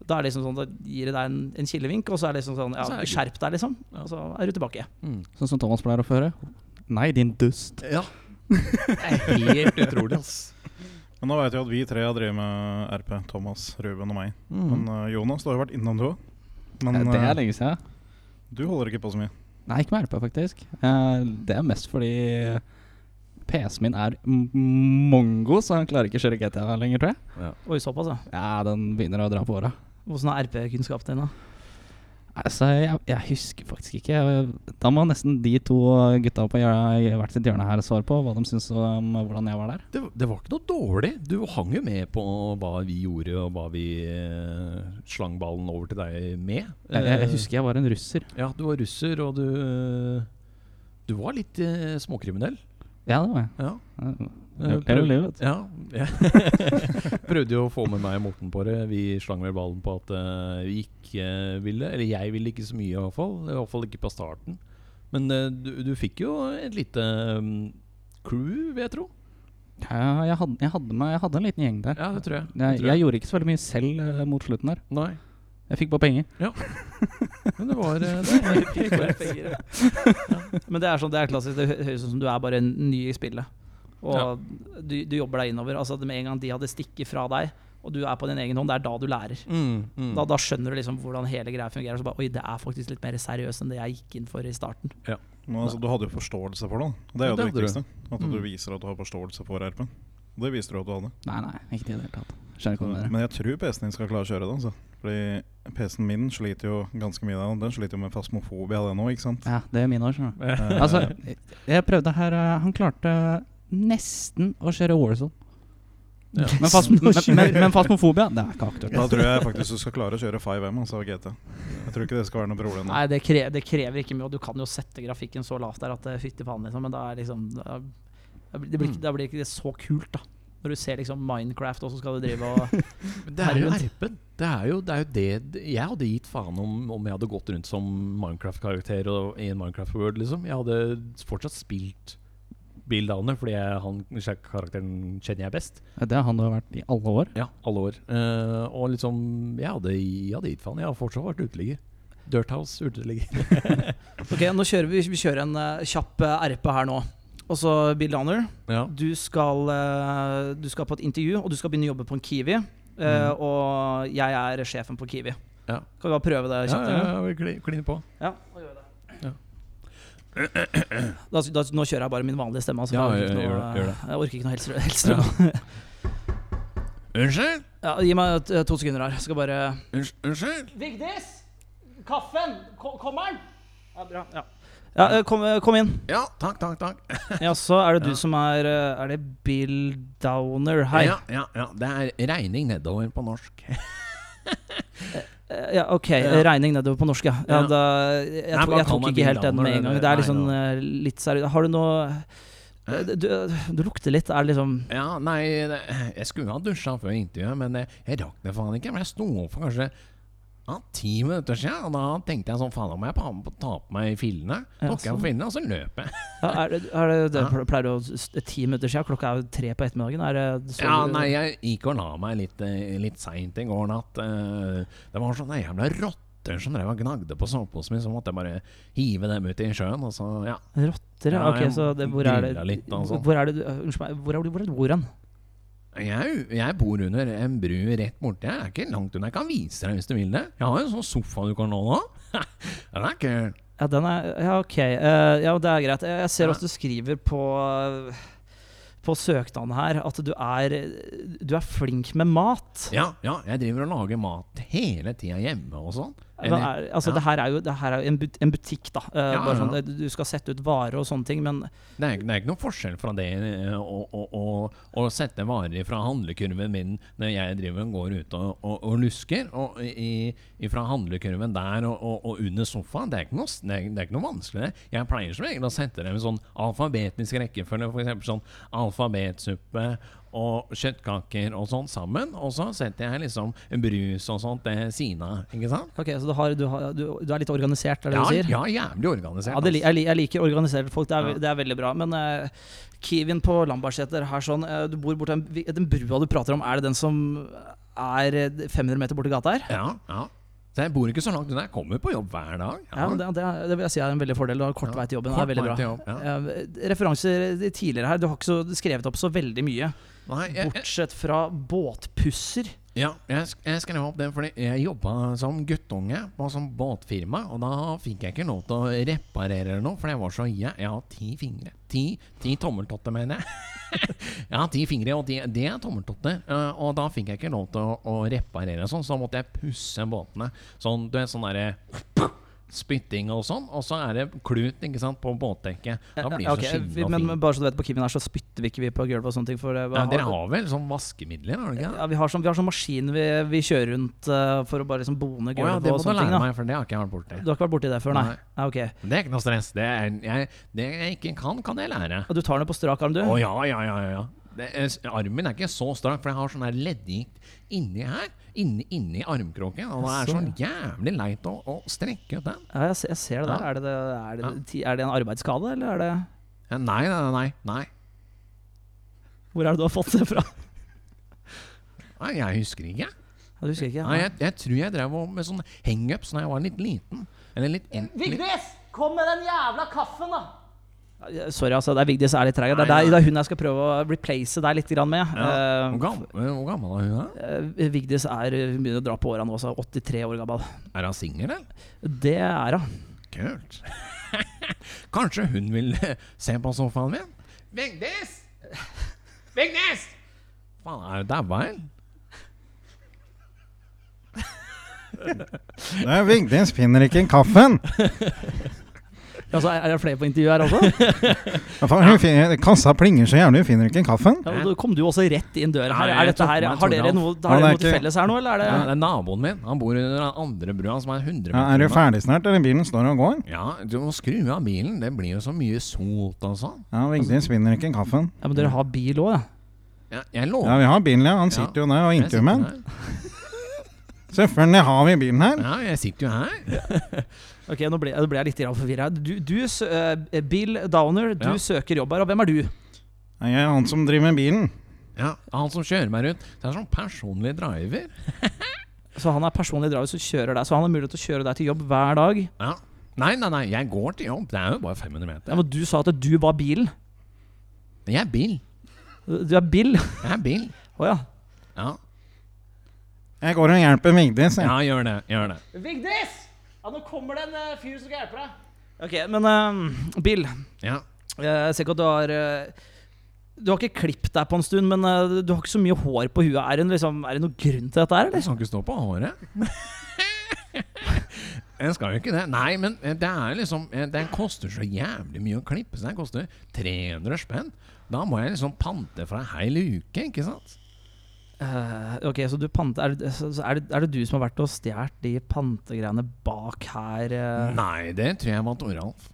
S1: Da er det liksom sånn, da gir det deg en, en kilevink, og så er det liksom sånn ja,
S2: Så er det
S1: Skjerp deg, liksom. Og
S2: Ja.
S1: så er du tilbake.
S3: Sånn som Thomas pleier å føre. Nei, din dust.
S2: Ja. Det er helt utrolig, ass.
S4: Men nå vet jeg at vi tre har drevet med RP. Thomas, Ruben og meg.
S2: Mm.
S1: Mm.
S4: Men øh, Jonas, du har jo vært innom du òg. Men
S3: Ja, det
S4: øh,
S3: er lenge siden.
S4: du holder ikke på så mye.
S3: Nei, ikke med RP, faktisk. Eh, det er mest fordi PC-en min er m- mongo, så han klarer ikke å kjøre GTA lenger, tror jeg.
S1: Oi, såpass, ja.
S3: Ja, den begynner å dra på åra.
S1: Åssen er RP-kunnskapen din, da?
S3: Altså, jeg, jeg husker faktisk ikke. Jeg- Da må nesten de to gutta på hjør- hvert sitt hjørne her svare på hva de syns om hvordan jeg var der.
S2: Det, det var ikke noe dårlig. Du hang jo med på hva vi gjorde, og hva vi eh, slang ballen over til deg med.
S3: Jeg, jeg, jeg
S2: Eh,
S3: husker jeg var en russer.
S2: Ja, du var russer, og du eh, Du var litt eh, småkriminell.
S3: Ja, det var jeg.
S2: Ja.
S3: Jeg- jeg
S2: Eh, prøv-
S3: lever livet.
S2: ja, ja. Prøvde jo å få med meg og Morten på det. Vi slang vel ballen på at eh, vi ikke eh, ville. Eller jeg ville ikke så mye, i hvert fall. I hvert fall ikke på starten. Men eh, du, du fikk jo et lite mm, crew, vil jeg tro.
S3: Ja, jeg, hadde, jeg, hadde med, jeg hadde en liten gjeng der.
S2: Ja, det tror jeg. Det
S3: Jeg,
S2: tror
S3: jeg gjorde ikke så veldig mye selv eh, mot slutten der.
S2: Nei.
S3: Jeg fikk bare penger.
S2: Men det var eh, det var helt korrekt.
S1: Men det er sånn, det er klassisk. Det hø- høres ut som du er bare en ny i spillet. Og
S2: Ja.
S1: du, du jobber deg innover. Altså at Med en gang de hadde stikket fra deg, og du er på din egen hånd, det er da du lærer.
S2: Mm, mm.
S1: Da, da skjønner du liksom hvordan hele greia fungerer. Og så bare, Oi, det er faktisk litt mer seriøst enn det jeg gikk inn for i starten.
S4: Men altså, du hadde jo forståelse for det. da. Og det er jo det,
S2: Ja, det hadde
S4: viktigste. At du
S2: Mm.
S4: viser at du har forståelse for RP. Og Det viser du at du hadde.
S3: Nei, nei, ikke i det hele tatt. Skjønner ikke hva du mener.
S4: Men jeg tror PC-en din skal klare å kjøre det. altså Fordi PC-en min sliter jo ganske mye der. Den sliter jo med fasmofobia, den òg, ikke sant?
S3: Ja, det er mine år, skjønner du.
S2: Eh,
S4: Eh,
S3: Altså, jeg- jeg prøvde her eh, Han klarte nesten å kjøre Warzone.
S2: Ja.
S3: Men, fast, men, men, men fasmofobia, det er ikke aktuelt.
S4: da tror jeg faktisk du skal klare å kjøre 5M, altså GT. Jeg tror ikke det skal være noe problem.
S1: Nei, det, kre det krever ikke mye, og du kan jo sette grafikken så lavt der at det er fytti faen, liksom, men da er liksom da, da, blir, det
S2: Mm.
S1: blir, ikke- da blir ikke det så kult, da. Når du ser liksom Minecraft, og så skal du drive og
S2: Men det er jo
S1: Herregud.
S2: RP-en. Det er jo det, er jo det Jeg hadde gitt faen om, om jeg hadde gått rundt som Minecraft-karakter og- i en Minecraft-world, liksom. Jeg hadde fortsatt spilt Bill Downer, fordi jeg, han karakteren kjenner jeg best.
S3: Det har han jo vært i alle år.
S2: Ja, alle år. Eh, og liksom Jeg hadde, jeg hadde gitt faen. Jeg har fortsatt vært uteligger. Dirthouse uteligger.
S1: Ok, nå kjører vi, vi kjører en eh, kjapp eh, RP her nå. Og så Bill Danner.
S2: Ja.
S1: Du skal, eh, du skal på et intervju, og du skal begynne å jobbe på en Kiwi. eh,
S2: Mhm.
S1: Og jeg er sjefen på Kiwi.
S2: Ja.
S1: Kan vi bare prøve det
S2: Ja,
S1: kjapt?
S2: ja,
S1: eller?
S2: ja, vi kli- kliner på.
S1: Ja, og gjør det.
S2: Ja.
S1: Da, da, nå kjører jeg bare min vanlige stemme. Altså,
S2: Ja,
S1: for jeg, orker ikke
S2: gjør
S1: noe-
S2: det, gjør det.
S1: jeg orker ikke noe helse. helse.
S2: Unnskyld?
S1: Ja. gi meg eh, to sekunder her. Jeg skal bare
S2: Unnskyld?
S1: Vigdis! Kaffen! Kommer den? Ja, bra. Ja. Ja, eh, kom, eh, kom inn.
S2: Ja, takk, takk, takk.
S1: Ja, så er det du
S2: Ja.
S1: som er eh, Er det Bill Downer? Hei.
S2: Ja, ja, ja. Det er regning nedover på norsk.
S1: Eh, Ja, ok,
S2: Ja.
S1: regning nedover på norsk, ja. ja
S2: Ja.
S1: da, jeg
S2: Nei,
S1: tok-
S2: hva
S1: jeg
S2: kan
S1: tok
S2: man
S1: ikke helt
S2: bli
S1: den med en gang.
S2: navnet?
S1: Det er
S2: Nei,
S1: liksom
S2: nå.
S1: eh, litt seriøst. Har du noe eh, du, du lukter litt. Er det liksom
S2: Ja, nei, det, jeg skulle ha dusja før intervjuet, men eh, jeg rakk det faen ikke. Men jeg sto opp for kanskje ja, ti minutter siden, og da tenkte jeg sånn faen, nå må jeg pa- ta på meg fillene.
S1: Ja,
S2: Tok jeg
S1: sånn.
S2: på fillene, og så løp jeg.
S1: ja, er det, er det, det
S2: Ja.
S1: pleier du å s- Ti minutter siden? Klokka er jo tre på ettermiddagen. Er det så
S2: Ja, nei, jeg gikk og la meg litt, eh, litt seint i går natt. Eh, Det var sånne jævla rotter som drev og gnagde på soveposen min, så måtte jeg bare hive dem ut i sjøen, og så ja.
S1: Rotter, ja.
S2: Ja,
S1: Ok,
S2: jeg
S1: så det, hvor er det
S2: grilla litt, altså.
S1: Hvor er det du Unnskyld meg, hvor er du hvor er du eh, bor hen?
S2: Jeg, jeg bor under en bru rett borti her. Det er ikke langt unna. Jeg kan vise deg hvis du vil det. Jeg har jo en sånn sofa du kan låne òg. Den er kul.
S1: Ja, den er Ja, ok. eh, ja, det er greit. Jeg, jeg ser
S2: Ja.
S1: at du skriver på på søknaden her at du er Du er flink med mat.
S2: Ja, ja, jeg driver og lager mat hele tida hjemme og sånn.
S1: Hva er,
S2: Eller-
S1: altså,
S2: ja.
S1: det her er jo, det her er jo en, but, en butikk, da. Eh,
S2: Ja,
S1: bare
S2: ja,
S1: sånn,
S2: ja.
S1: det- Du skal sette ut varer og sånne ting, men
S2: Det er, ikke- det er ikke noen forskjell fra det eh, å, å, å, å sette varer fra handlekurven min når jeg driver og går ute og, og, og lusker, og i, i, fra handlekurven der og, og, og under sofaen. Det er ikke noe, s- det er, det er ikke noe vanskelig. det. Jeg pleier som regel å sette dem i sånn alfabetisk rekkefølge, f.eks. sånn alfabetsuppe og kjøttkaker og sånn sammen. Og så setter jeg liksom brus og sånt ved siden av, ikke sant?
S1: Ok, så du, har, du, har, du, du er litt organisert, er det
S2: Ja,
S1: du sier?
S2: ja, jævlig organisert. altså.
S1: Ja, det, li-
S2: ass.
S1: jeg, li- jeg liker organiserte folk, det er, ve-
S2: Ja.
S1: det er veldig bra. Men eh, Kiwin på Lambertseter her sånn, eh, du bor borte, den brua du prater om, er det den som er eh, 500 meter borti gata her?
S2: Ja, ja. Så jeg bor ikke så langt unna. Jeg kommer på jobb hver dag.
S1: Ja, men det, det, er- det vil jeg si er en veldig fordel. Du har kort
S2: Ja.
S1: vei til jobben.
S2: Kort
S1: det er veldig
S2: vei
S1: bra.
S2: til jobb, ja.
S1: Eh, referanser tidligere her, du har ikke så skrevet opp så veldig mye.
S2: Nei, jeg, jeg,
S1: Bortsett fra båtpusser.
S2: ja, jeg, sk- jeg skrev opp det fordi jeg jobba som guttunge på sånn båtfirma. Og da fikk jeg ikke lov til å reparere eller noe, for jeg var så jæ... Jeg har ti fingre. Ti, ti tommeltotter, mener jeg. jeg har ti fingre, og ti, det er tommeltotter. Eh, Og da fikk jeg ikke lov til å, å reparere sånn, så da måtte jeg pusse båtene. Sånn, du vet, sånn derre Spytting og sånn, og så er det klut ikke sant, på båtdekket. Da blir det
S1: Ja, ok,
S2: så
S1: vi-
S2: skinnende og
S1: men,
S2: fint.
S1: men bare så du vet, på Kiwin her så spytter vi ikke vi på gulvet og sånne ting. For det,
S2: Ja, dere har vel sånn vaskemidler, har dere ikke det?
S1: ja, vi har sånn, vi har sånn maskin vi, vi kjører rundt eh, for å bare liksom bone
S2: Å ja,
S1: gulvet
S2: det
S1: og
S2: må du
S1: sånne ting.
S2: lære
S1: Da.
S2: meg, for det har ikke jeg vært borti.
S1: Du har ikke vært borti det før, nei?
S2: Nei.
S1: Ja, ok.
S2: Men Det er ikke noe stress. Det, er, jeg, det jeg ikke kan, kan jeg lære.
S1: Og du tar den på strak arm, du?
S2: Å ja, ja, ja. ja, ja. Det er, armen er ikke så strak, for jeg har sånn her leddgikt inni her. Inni, inni armkroken. Og det er
S1: Så,
S2: sånn jævlig leit å, å strekke ut den.
S1: Ja, jeg, se- jeg ser det der.
S2: Ja.
S1: Er det, det, er, det,
S2: Ja.
S1: ti- er det en arbeidsskade, eller er det
S2: Ja, Nei, nei, nei. nei.
S1: Hvor er det du har fått det fra?
S2: Nei, jeg husker ikke.
S1: Ja, du husker ikke?
S2: Nei, jeg, jeg tror jeg drev og- med sånn hangups da jeg var litt liten. Eller litt, en, litt
S1: Vigdis! Kom med den jævla kaffen, da! Sorry, altså. Det er Vigdis som er litt treig. Det, er
S2: Nei,
S1: deg-
S2: nei.
S1: det er hun jeg skal prøve å replace deg litt grann med.
S2: ja.
S1: Eh,
S2: hvor, gammel, hvor gammel er hun? da?
S1: eh, Vigdis er, hun begynner å dra på åra nå, altså. 83 år gammel.
S2: Er hun singel, eller?
S1: Det er hun.
S2: Kult. Kanskje hun vil eh, se på sofaen min? Vigdis! Vigdis! Faen, er du daua, eller?
S4: Nei, Vigdis finner ikke kaffen!
S1: Ja, så Altså, er, er det flere på intervjuet her også?
S4: Hva faen, hun finner, kassa plinger så jævlig, hun finner ikke kaffen!
S1: Ja, og da kom du også rett inn døra her.
S2: Nei,
S1: Er
S2: jeg
S1: dette
S2: tok
S1: her
S2: meg
S1: har
S2: Torgalf.
S1: dere noe,
S4: Han
S1: har dere
S4: er
S1: noe til
S4: ikke-
S1: felles her nå, eller er
S2: Ja,
S1: det
S2: det er naboen min. Han bor under den andre brua, som er 100 meter
S4: Ja, er du
S2: unna.
S4: ferdig snart, eller bilen står og går?
S2: Ja, du må skru av bilen. Det blir jo så mye sot og sånn.
S4: Ja, Vigdis finner ikke kaffen.
S1: Ja, men dere har bil òg, ja.
S2: Ja, jeg
S4: Ja,
S2: lover.
S4: vi har bilen, ja. Han sitter jo der og
S2: jeg sitter
S4: intervjuer med den.
S2: her.
S4: Selvfølgelig har vi bilen her.
S2: Ja, jeg sitter jo her.
S1: Ok, nå ble, nå ble jeg litt forvirra. Du, du sø- eh, Bill Downer, du
S2: Ja.
S1: søker jobb her, og hvem er du?
S4: Nei, Jeg er han som driver med bilen.
S2: Ja, Han som kjører meg rundt. Det er sånn personlig driver.
S1: Så han er personlig driver som kjører deg, så han har mulighet til å kjøre deg til jobb hver dag.
S2: Ja. Nei, nei, nei, jeg går til jobb. Det er jo bare 500
S1: Ja,
S2: meter.
S1: men du sa at du var bilen.
S2: Jeg er bil.
S1: Du er Bill.
S2: Jeg er bil.
S1: Å ja.
S2: Ja,
S4: Jeg går og hjelper Vigdis. jeg.
S2: ja gjør det. Gjør det.
S1: Vigdis! Ja, nå kommer det en eh, fyr som skal hjelpe deg. Ok, men eh, Bill,
S2: Ja.
S1: jeg ser ikke at du har eh, Du har ikke klippet deg på en stund, men eh, du har ikke så mye hår på huet. Er det, liksom, er det noen grunn til dette her,
S2: Jeg
S1: eller?
S2: skal ikke stå på håret. Jeg skal jo ikke det. Nei, men eh, det er liksom eh, Den koster så jævlig mye å klippe seg. Den koster 300 spenn. Da må jeg liksom pante for ei hel uke, ikke sant?
S1: Eh, ok, så du pante, er, det, så, så er, det, er det du som har vært og stjålet de pantegreiene bak her? eh?
S2: Nei, det tror jeg var Toralf.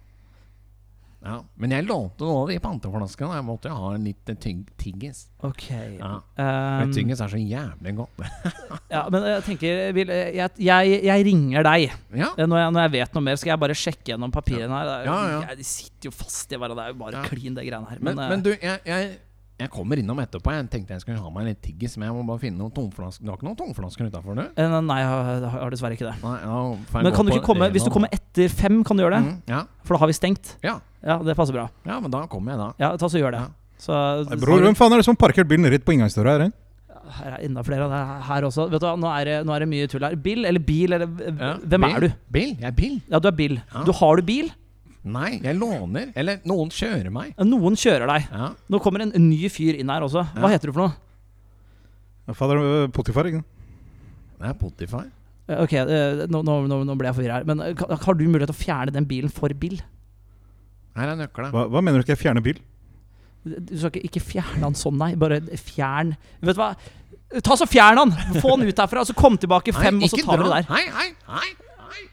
S2: Ja, men jeg lånte noe av de panteflaskene. Jeg måtte jo ha en litt tygg tiggis.
S1: Ok.
S2: Ja. Um,
S1: ehm,
S2: Men tyggis er så jævlig godt.
S1: ja, men jeg tenker, Bill, eh, jeg, jeg, jeg ringer deg.
S2: Ja,
S1: Eh, Når jeg, når jeg vet noe mer, skal jeg bare sjekke gjennom papirene her. Det er jo-
S2: Ja, ja.
S1: Jeg, de sitter jo fast i hverandre. Det er jo bare
S2: Ja.
S1: klin, det greiene her.
S2: Men,
S1: eh,
S2: men du, jeg, jeg, jeg kommer innom etterpå. Jeg tenkte jeg skulle ha meg litt tiggis, men jeg må bare finne noen tomflasker. Du har ikke noen tomflasker utafor, du?
S1: eh, Nei, jeg har, jeg har dessverre ikke det.
S2: Nei, ja, får jeg
S1: Men
S2: gå
S1: kan du
S2: på
S1: ikke komme,
S2: Rena
S1: hvis du
S2: da?
S1: kommer etter fem, kan du gjøre det?
S2: Mm, ja,
S1: For da har vi stengt.
S2: ja,
S1: Ja, det passer bra.
S2: ja, men da kommer jeg, da.
S1: Ja, ta så gjør det.
S2: Ja.
S1: Så,
S4: Nei, Bror, hvem faen er det som parkert bilen rett på inngangsdøra her? eh?
S1: Her er enda flere av det her også. Vet du, hva, nå er, det, nå er det mye tull her. Bill eller bil eller
S2: Ja.
S1: Hvem
S2: bil,
S1: er du?
S2: Bil? Jeg er bil.
S1: Ja, du er Bill.
S2: Ja.
S1: Du har du bil?
S2: Nei, jeg låner. Eller noen kjører meg.
S1: Noen kjører deg.
S2: Ja.
S1: Nå kommer en ny fyr inn her også. Hva
S2: Ja.
S1: heter du for noe?
S4: Ja, Fader, øh, Potifar, ikke sant?
S2: Det er Potifar.
S1: Eh, Ok, eh, nå, nå, nå nå ble jeg forvirra her. Men eh, kan- har du mulighet til å fjerne den bilen for Bill?
S2: Her er nøkkelen.
S4: Hva, hva mener du ikke jeg fjerner bil?
S1: Du skal ikke, ikke fjerne han sånn, nei. Bare fjern Vet du hva? Ta så fjern han! Få han ut herfra, og så kom tilbake i fem, og så tar vi det der.
S2: Hei, hei, hei, hei.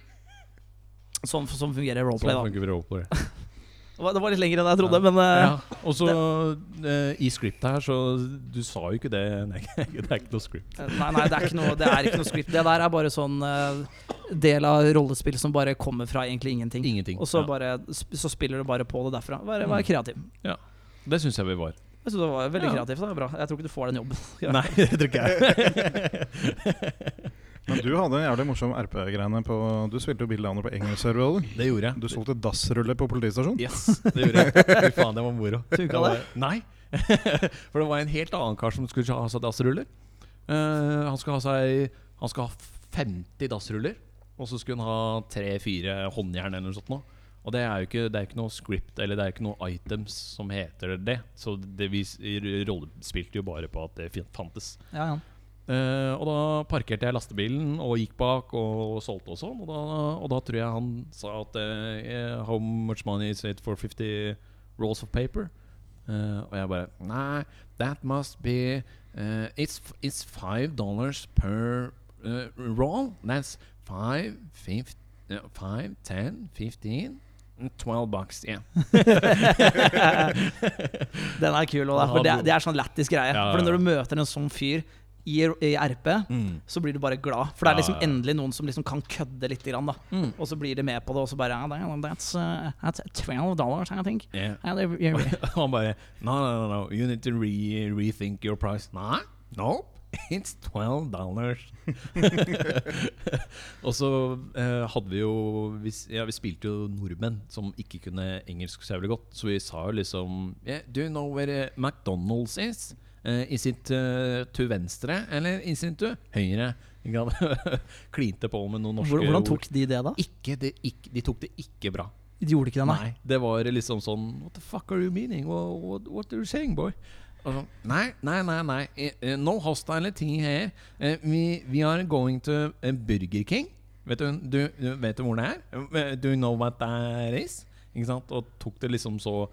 S1: Sånn, sånn fungerer roleplay, da.
S2: funker vi på det.
S1: Det var- Det var litt lenger enn jeg trodde, men eh,
S2: Ja, og så eh, i scriptet her, så du sa jo ikke det. Nei, det er ikke noe script.
S1: Nei, nei, det er ikke noe, det er ikke noe script. Det der er bare sånn eh, del av rollespill som bare kommer fra egentlig ingenting.
S2: Ingenting.
S1: Og så,
S2: Ja. Mm.
S1: bare, sp- så spiller du bare på det derfra. Bare vær kreativ.
S2: Det syns jeg vi var.
S1: Jeg synes det var veldig
S2: Ja.
S1: kreativt. Det var bra. Jeg tror ikke du får den jobben.
S2: Nei, det tror ikke jeg.
S4: Men du hadde en jævlig morsom RP-greiene på Du spilte jo bildeaner på engelskserver.
S2: det gjorde jeg.
S4: Du solgte dassruller på politistasjonen.
S2: Yes, det gjorde jeg. Fy faen, det var moro.
S1: Funka
S2: Jeg var- Nei. For det var en helt annen kar som skulle ha seg dassruller. Eh, han skulle ha seg Han skulle ha 50 dassruller, og så skulle han ha tre-fire håndjern eller noe sånt. Nå. Og det er jo ikke, det er ikke noe script eller det er ikke noe items som heter det. Så det vi s- rollespilte jo bare på at det fin- fantes.
S1: Ja, ja.
S2: Eh, og da parkerte jeg lastebilen og gikk bak og solgte og sånn. Og da, og da tror jeg han sa at eh, How much money is it for 50 rolls of paper? Eh, og jeg bare Nei, that must be eh, it's, f- it's five dollars per eh, roll. That's five, fif- eh, five, ten, fifteen, and twelve bucks. Yeah.
S1: Den er kul. Og det, er- for det, det er sånn lættis greie.
S2: Ja, ja,
S1: For
S2: ja. Mm.
S1: når du møter en sånn fyr i, i RP, så blir du bare glad. For det er
S2: Ja,
S1: liksom
S2: ja.
S1: endelig noen som liksom kan kødde litt. Grann, da.
S2: Mm.
S1: Og så blir de med på det, og så bare yeah, that- that's, uh, that's 12 dollars, I think.
S2: Yeah.
S1: Yeah, they- yeah.
S2: Han bare No, no, no, no. You need to re rethink your price. Nei. Nope. It's 12 dollars. og så eh, hadde vi jo vi, s- ja, vi spilte jo nordmenn som ikke kunne engelsk så jævlig godt. Så vi sa jo liksom yeah, Do you know where eh, McDonald's is? Eh, is it eh, to venstre, eller is it to høyre? Ikke sant? Klinte på med noen norske
S1: Hvor- Hvordan tok de det, da?
S2: ord. Ikke, det, ikke, de tok det ikke bra.
S1: De gjorde ikke det, nei.
S2: Nei, det var liksom sånn What the fuck are you meaning? What, what, what are you saying, boy? Og så, nei, nei, nei. nei eh, eh, No hostility her. Eh, We, we are going to eh, Burger King. Vet du, du, du vet du hvor det er? Eh, Do you know what that is? Ikke sant? Og tok det liksom så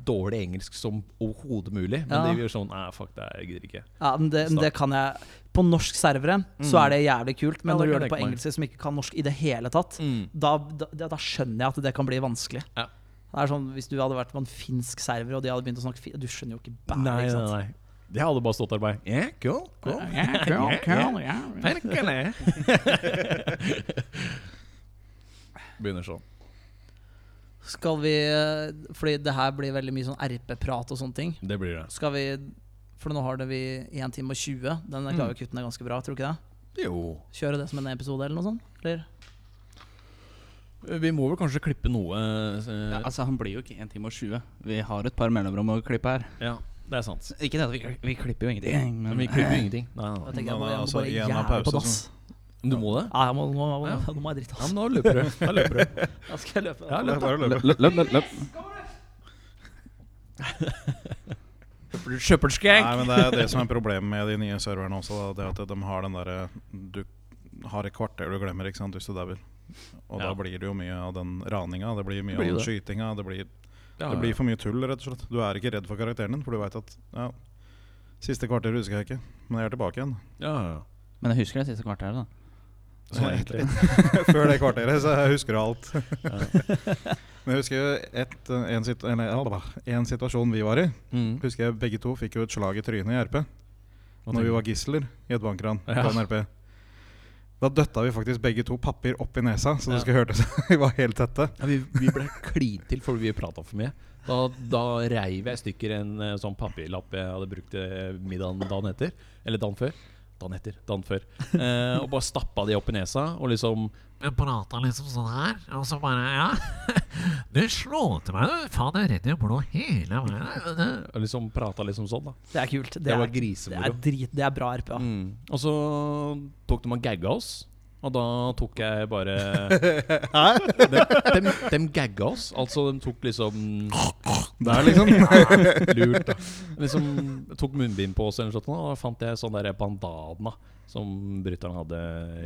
S2: dårlig engelsk som overhodet mulig. Men
S1: Ja.
S2: de gjør sånn Nei, fuck det, jeg gidder ikke.
S1: Ja, men det, men det kan jeg På norsk servere så er det jævlig kult, men
S2: Mm. Ja, det
S1: når du
S2: kan
S1: gjør det
S2: jeg
S1: på
S2: tenke meg. Mm.
S1: engelske som ikke kan norsk i det hele tatt, da, da, da skjønner jeg at det kan bli vanskelig.
S2: Ja.
S1: Det er sånn, Hvis du hadde vært på en finsk server og de hadde begynt å snakke fi- Du skjønner jo ikke bæret.
S2: Nei,
S1: ikke
S2: nei,
S1: sant?
S2: nei. Det hadde bare stått der bare Yeah, cool, cool. Perkele. Begynner sånn.
S1: Skal vi eh, Fordi det her blir veldig mye sånn RP-prat og sånne ting.
S2: Det blir det.
S1: Skal vi For nå har det vi 1 time og 20. Den
S2: Mm.
S1: der klarer vi å kutte ned ganske bra, tror du ikke det?
S2: Jo.
S1: Kjøre det som en episode eller noe sånt? Eller?
S2: Vi må vel kanskje klippe noe. eh,
S3: Ja, altså Han blir jo ikke 1 time og 20. Vi har et par mellomrom å klippe her.
S2: ja, det er sant.
S3: Ikke det at vi, vi klipper jo ingenting, men
S2: Men vi klipper jo ingenting. Nei, nei,
S1: Da tenker jeg,
S4: Nei,
S1: må-
S4: nei,
S1: jeg må
S4: altså,
S1: bare
S4: igjen av
S1: jævlig
S4: pause,
S1: på dass.
S2: nei. Du må det?
S1: Ja, jeg må, nå, nå, nå,
S2: altså. Ja.
S1: må jeg drite,
S2: Ja,
S1: ass.
S2: men da løper du. Da løper du.
S1: Da skal jeg løpe.
S2: Ja, løp, da.
S4: Bare løpe.
S3: løp, løp, løp, løp.
S4: Nei, men det er det som er problemet med de nye serverne også. Da, det at de har den derre Du har et kvarter du glemmer, ikke sant, hvis du dauer. Og da
S2: Ja.
S4: blir det jo mye av den raninga, det blir mye
S2: Det blir
S4: av den
S2: det.
S4: skytinga. Det blir,
S2: Ja, ja.
S4: det blir for mye tull, rett og slett. Du er ikke redd for karakteren din, for du veit at ja, Siste kvarter husker jeg ikke, men jeg er tilbake igjen.
S2: Ja, ja.
S3: Men jeg husker det siste kvarteret, da.
S2: Sånn egentlig.
S4: Før det kvarteret, så jeg husker alt. Men jeg husker jo et, en, situ eller, eller, en situasjon vi var i.
S2: Mm.
S4: Husker jeg Begge to fikk jo et slag i trynet i RP.
S2: Hva
S4: når vi
S2: tenker
S4: var gisler i et bankran
S2: Ja.
S4: på en RP. Da døtta vi faktisk begge to papir opp i nesa, så det skulle hørtes Vi var helt tette.
S2: Ja, vi, vi ble klint til fordi vi prata for mye. Da, da reiv jeg i stykker en eh, sånn papirlapp jeg hadde brukt til middagen dagen etter. Eller dagen før. Dagen etter. Dagen før. Eh, og bare stappa de opp i nesa, og liksom
S5: Jeg prata liksom sånn her, og så bare Ja. Du slo til meg, du. Faen, jeg er redd i blå hele veien.
S2: og liksom prata liksom sånn, da.
S1: Det er kult. Det,
S2: Det var
S1: er, det
S2: grisemoro.
S1: er drit, det er bra RP. Ja.
S2: Mm. Og så tok de og gagga oss. Og da tok jeg bare De, de, de gagga oss. Altså, de tok liksom
S4: Der, liksom.
S2: Lurt, da. Liksom, tok munnbind på oss, eller noe sånt, og da fant jeg sånn der bandana som bryteren hadde.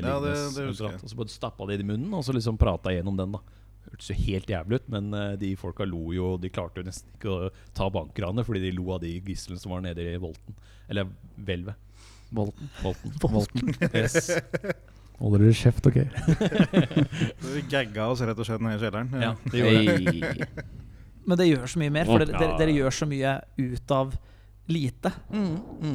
S4: Ja, det-
S2: liggende,
S4: det husker jeg.
S2: Og så bare stappa de det i munnen, og så liksom prata jeg gjennom den. da Hørtes jo helt jævlig ut, men eh, de folka lo jo. De klarte jo nesten ikke å ta bankranet, fordi de lo av de gislene som var nede i volten. Eller hvelvet.
S3: Bolten.
S2: Volten.
S3: Bolten.
S2: Yes. Holder dere kjeft, OK?
S4: Vi gagga oss rett og slett ned i kjelleren.
S2: Ja, det gjorde jeg.
S3: Hey.
S1: Men det gjør så mye mer, for dere, dere,
S2: Ja.
S1: dere gjør så mye ut av lite.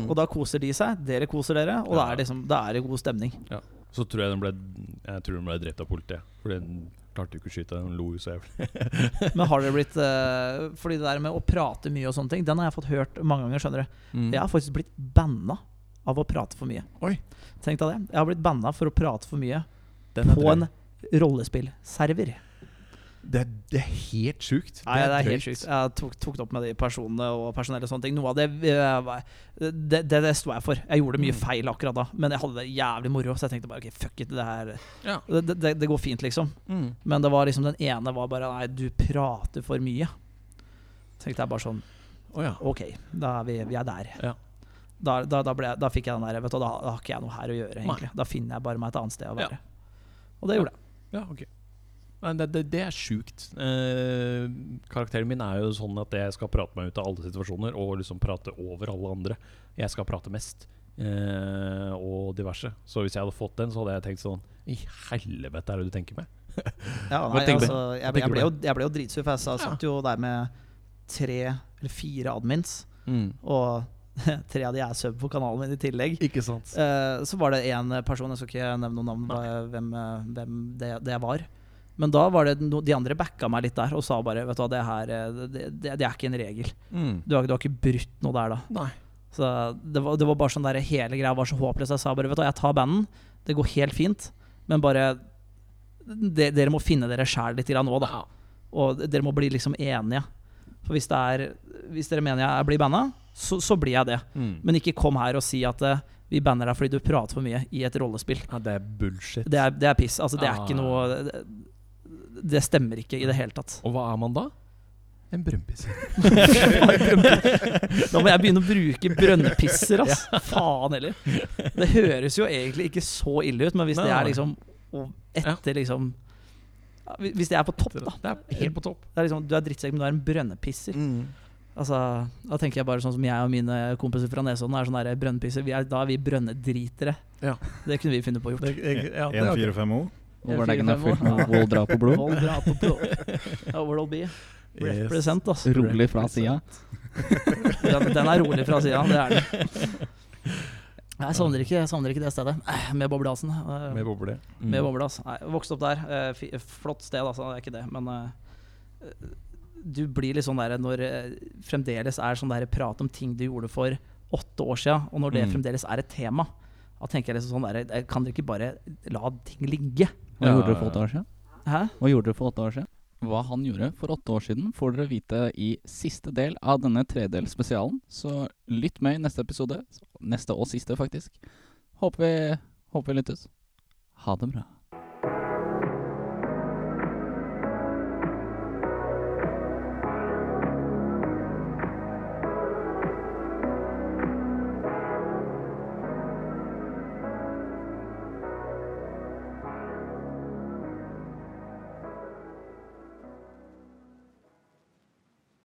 S1: Og da koser de seg, dere koser dere, og da
S2: Mm. Ja.
S1: er, liksom, da er det god stemning.
S2: Ja. Så tror jeg den ble Jeg tror den ble drept av politiet. Fordi den klarte jo ikke å skyte, den lo jo så jævlig.
S1: Men har dere blitt eh, Fordi det der med å prate mye og sånne ting, den har jeg fått hørt mange ganger, skjønner du. Jeg har faktisk blitt banna av å prate for mye.
S2: Mm. Oi.
S1: Tenk deg det. Jeg har blitt banna for å prate for mye
S2: Den er
S1: på
S2: drøy.
S1: en rollespillserver.
S2: Det, det er helt sjukt.
S1: Nei, det er helt
S2: drøyt.
S1: sjukt. Jeg tok, tok det opp med de personene og personellet og sånne ting. Noe av det eh, var- det, det, det sto jeg for. Jeg gjorde
S2: Mm.
S1: mye feil akkurat da, men jeg hadde det jævlig moro. Så jeg tenkte bare ok, fuck it, det her
S2: Ja.
S1: det, det- det, det går fint, liksom.
S2: Mm.
S1: Men det var liksom den ene var bare Nei, du prater for mye. Tenkte jeg bare sånn
S2: Å ja.
S1: Ok, da er vi, vi er der.
S2: Ja.
S1: Da, da, da, ble, jeg- da fikk jeg den der Vet du, da, da har ikke jeg noe her å gjøre,
S2: Nei.
S1: egentlig. Da finner jeg bare meg et annet sted å
S2: Ja.
S1: være. Og det gjorde jeg.
S2: ja, ok. Nei, det, det, det er sjukt. Eh, karakteren min er jo sånn at jeg skal prate meg ut av alle situasjoner, og liksom prate over alle andre. Jeg skal prate mest, eh, og diverse. Så hvis jeg hadde fått den, så hadde jeg tenkt sånn I helvete er det du tenker med?
S1: Ja,
S2: Hva
S1: nei,
S2: tenker du?
S1: altså, jeg,
S2: tenker
S1: jeg,
S2: du
S1: ble jo,
S2: på
S1: jeg ble jo dritsur, for jeg sa- satt jo der med tre eller fire admins,
S2: Mm.
S1: og tre av de er sub på kanalen min i tillegg.
S2: Ikke sant?
S1: Eh, så var det én person, jeg skal ikke nevne noe navn, hva- hvem, eh, hvem det, det var. Men da var det no, de andre backa meg litt der og sa bare Vet du hva, det her eh, det, det, det er ikke en regel.
S2: Mm.
S1: Du har, du har ikke brutt noe der, da.
S2: Nei.
S1: Så det var, det var bare sånn der, Hele greia var så håpløs. Jeg sa bare Vet du hva, jeg tar banden. Det går helt fint. Men bare de, Dere må finne dere sjæl litt grann nå, da.
S2: Ja.
S1: Og dere må bli liksom enige. For hvis, det er, hvis dere mener jeg blir banna, så, så blir jeg det. Men ikke kom her og si at eh, vi banner deg fordi du prater for mye i et rollespill.
S2: Ja, det er bullshit.
S1: Det er, det er piss. Altså, det er
S2: Ah.
S1: ikke noe det, det stemmer ikke i det hele tatt.
S2: Og hva er man da? En brønnbisse.
S1: Da må jeg begynne å bruke brønnpisser, ass. Faen heller. Det høres jo egentlig ikke så ille ut, men hvis det
S2: Nei.
S1: er liksom og etter liksom ja, hvi- Hvis det er på topp, da.
S2: Det er helt på topp. Mm.
S1: Det er liksom, du er drittsekk, men du er en brønnpisser. Altså, da tenker jeg bare sånn som jeg og mine kompiser fra Nesodden er sånne der brønnpisser. Vi er, da er vi brønnedritere.
S2: Ja.
S1: Det kunne vi funnet på å gjort.
S4: 145O.
S3: Nå var det ikke noe
S1: Fire,
S3: fullt
S1: fem år.
S3: med Wall dra på blod.
S1: Vold, drap og blod. Ja, what'll be? Represent, altså.
S3: Rolig fra sida.
S1: Den, den er rolig fra sida. Det er den. Jeg savner ikke, jeg savner ikke det stedet. Eh, Med boblehalsen. eh,
S2: Med mm. boble.
S1: Med boble, altså. Nei, jeg vokste opp der. Eh, fi- Flott sted, altså. Det er ikke det, men eh, du blir litt sånn der når eh, fremdeles er sånn der prat om ting du gjorde for åtte år siden, og når det
S2: Mm.
S1: fremdeles er et tema, da tenker jeg liksom sånn der eh, Kan dere ikke bare la ting ligge?
S3: Hva gjorde dere for åtte år siden?
S1: Hæ?
S3: Hva gjorde dere for åtte år siden? Hva han gjorde for åtte år siden, får dere vite i siste del av denne tredelsspesialen. Så lytt med i neste episode. Neste og siste, faktisk. Håper vi, håper vi lyttes. Ha det bra.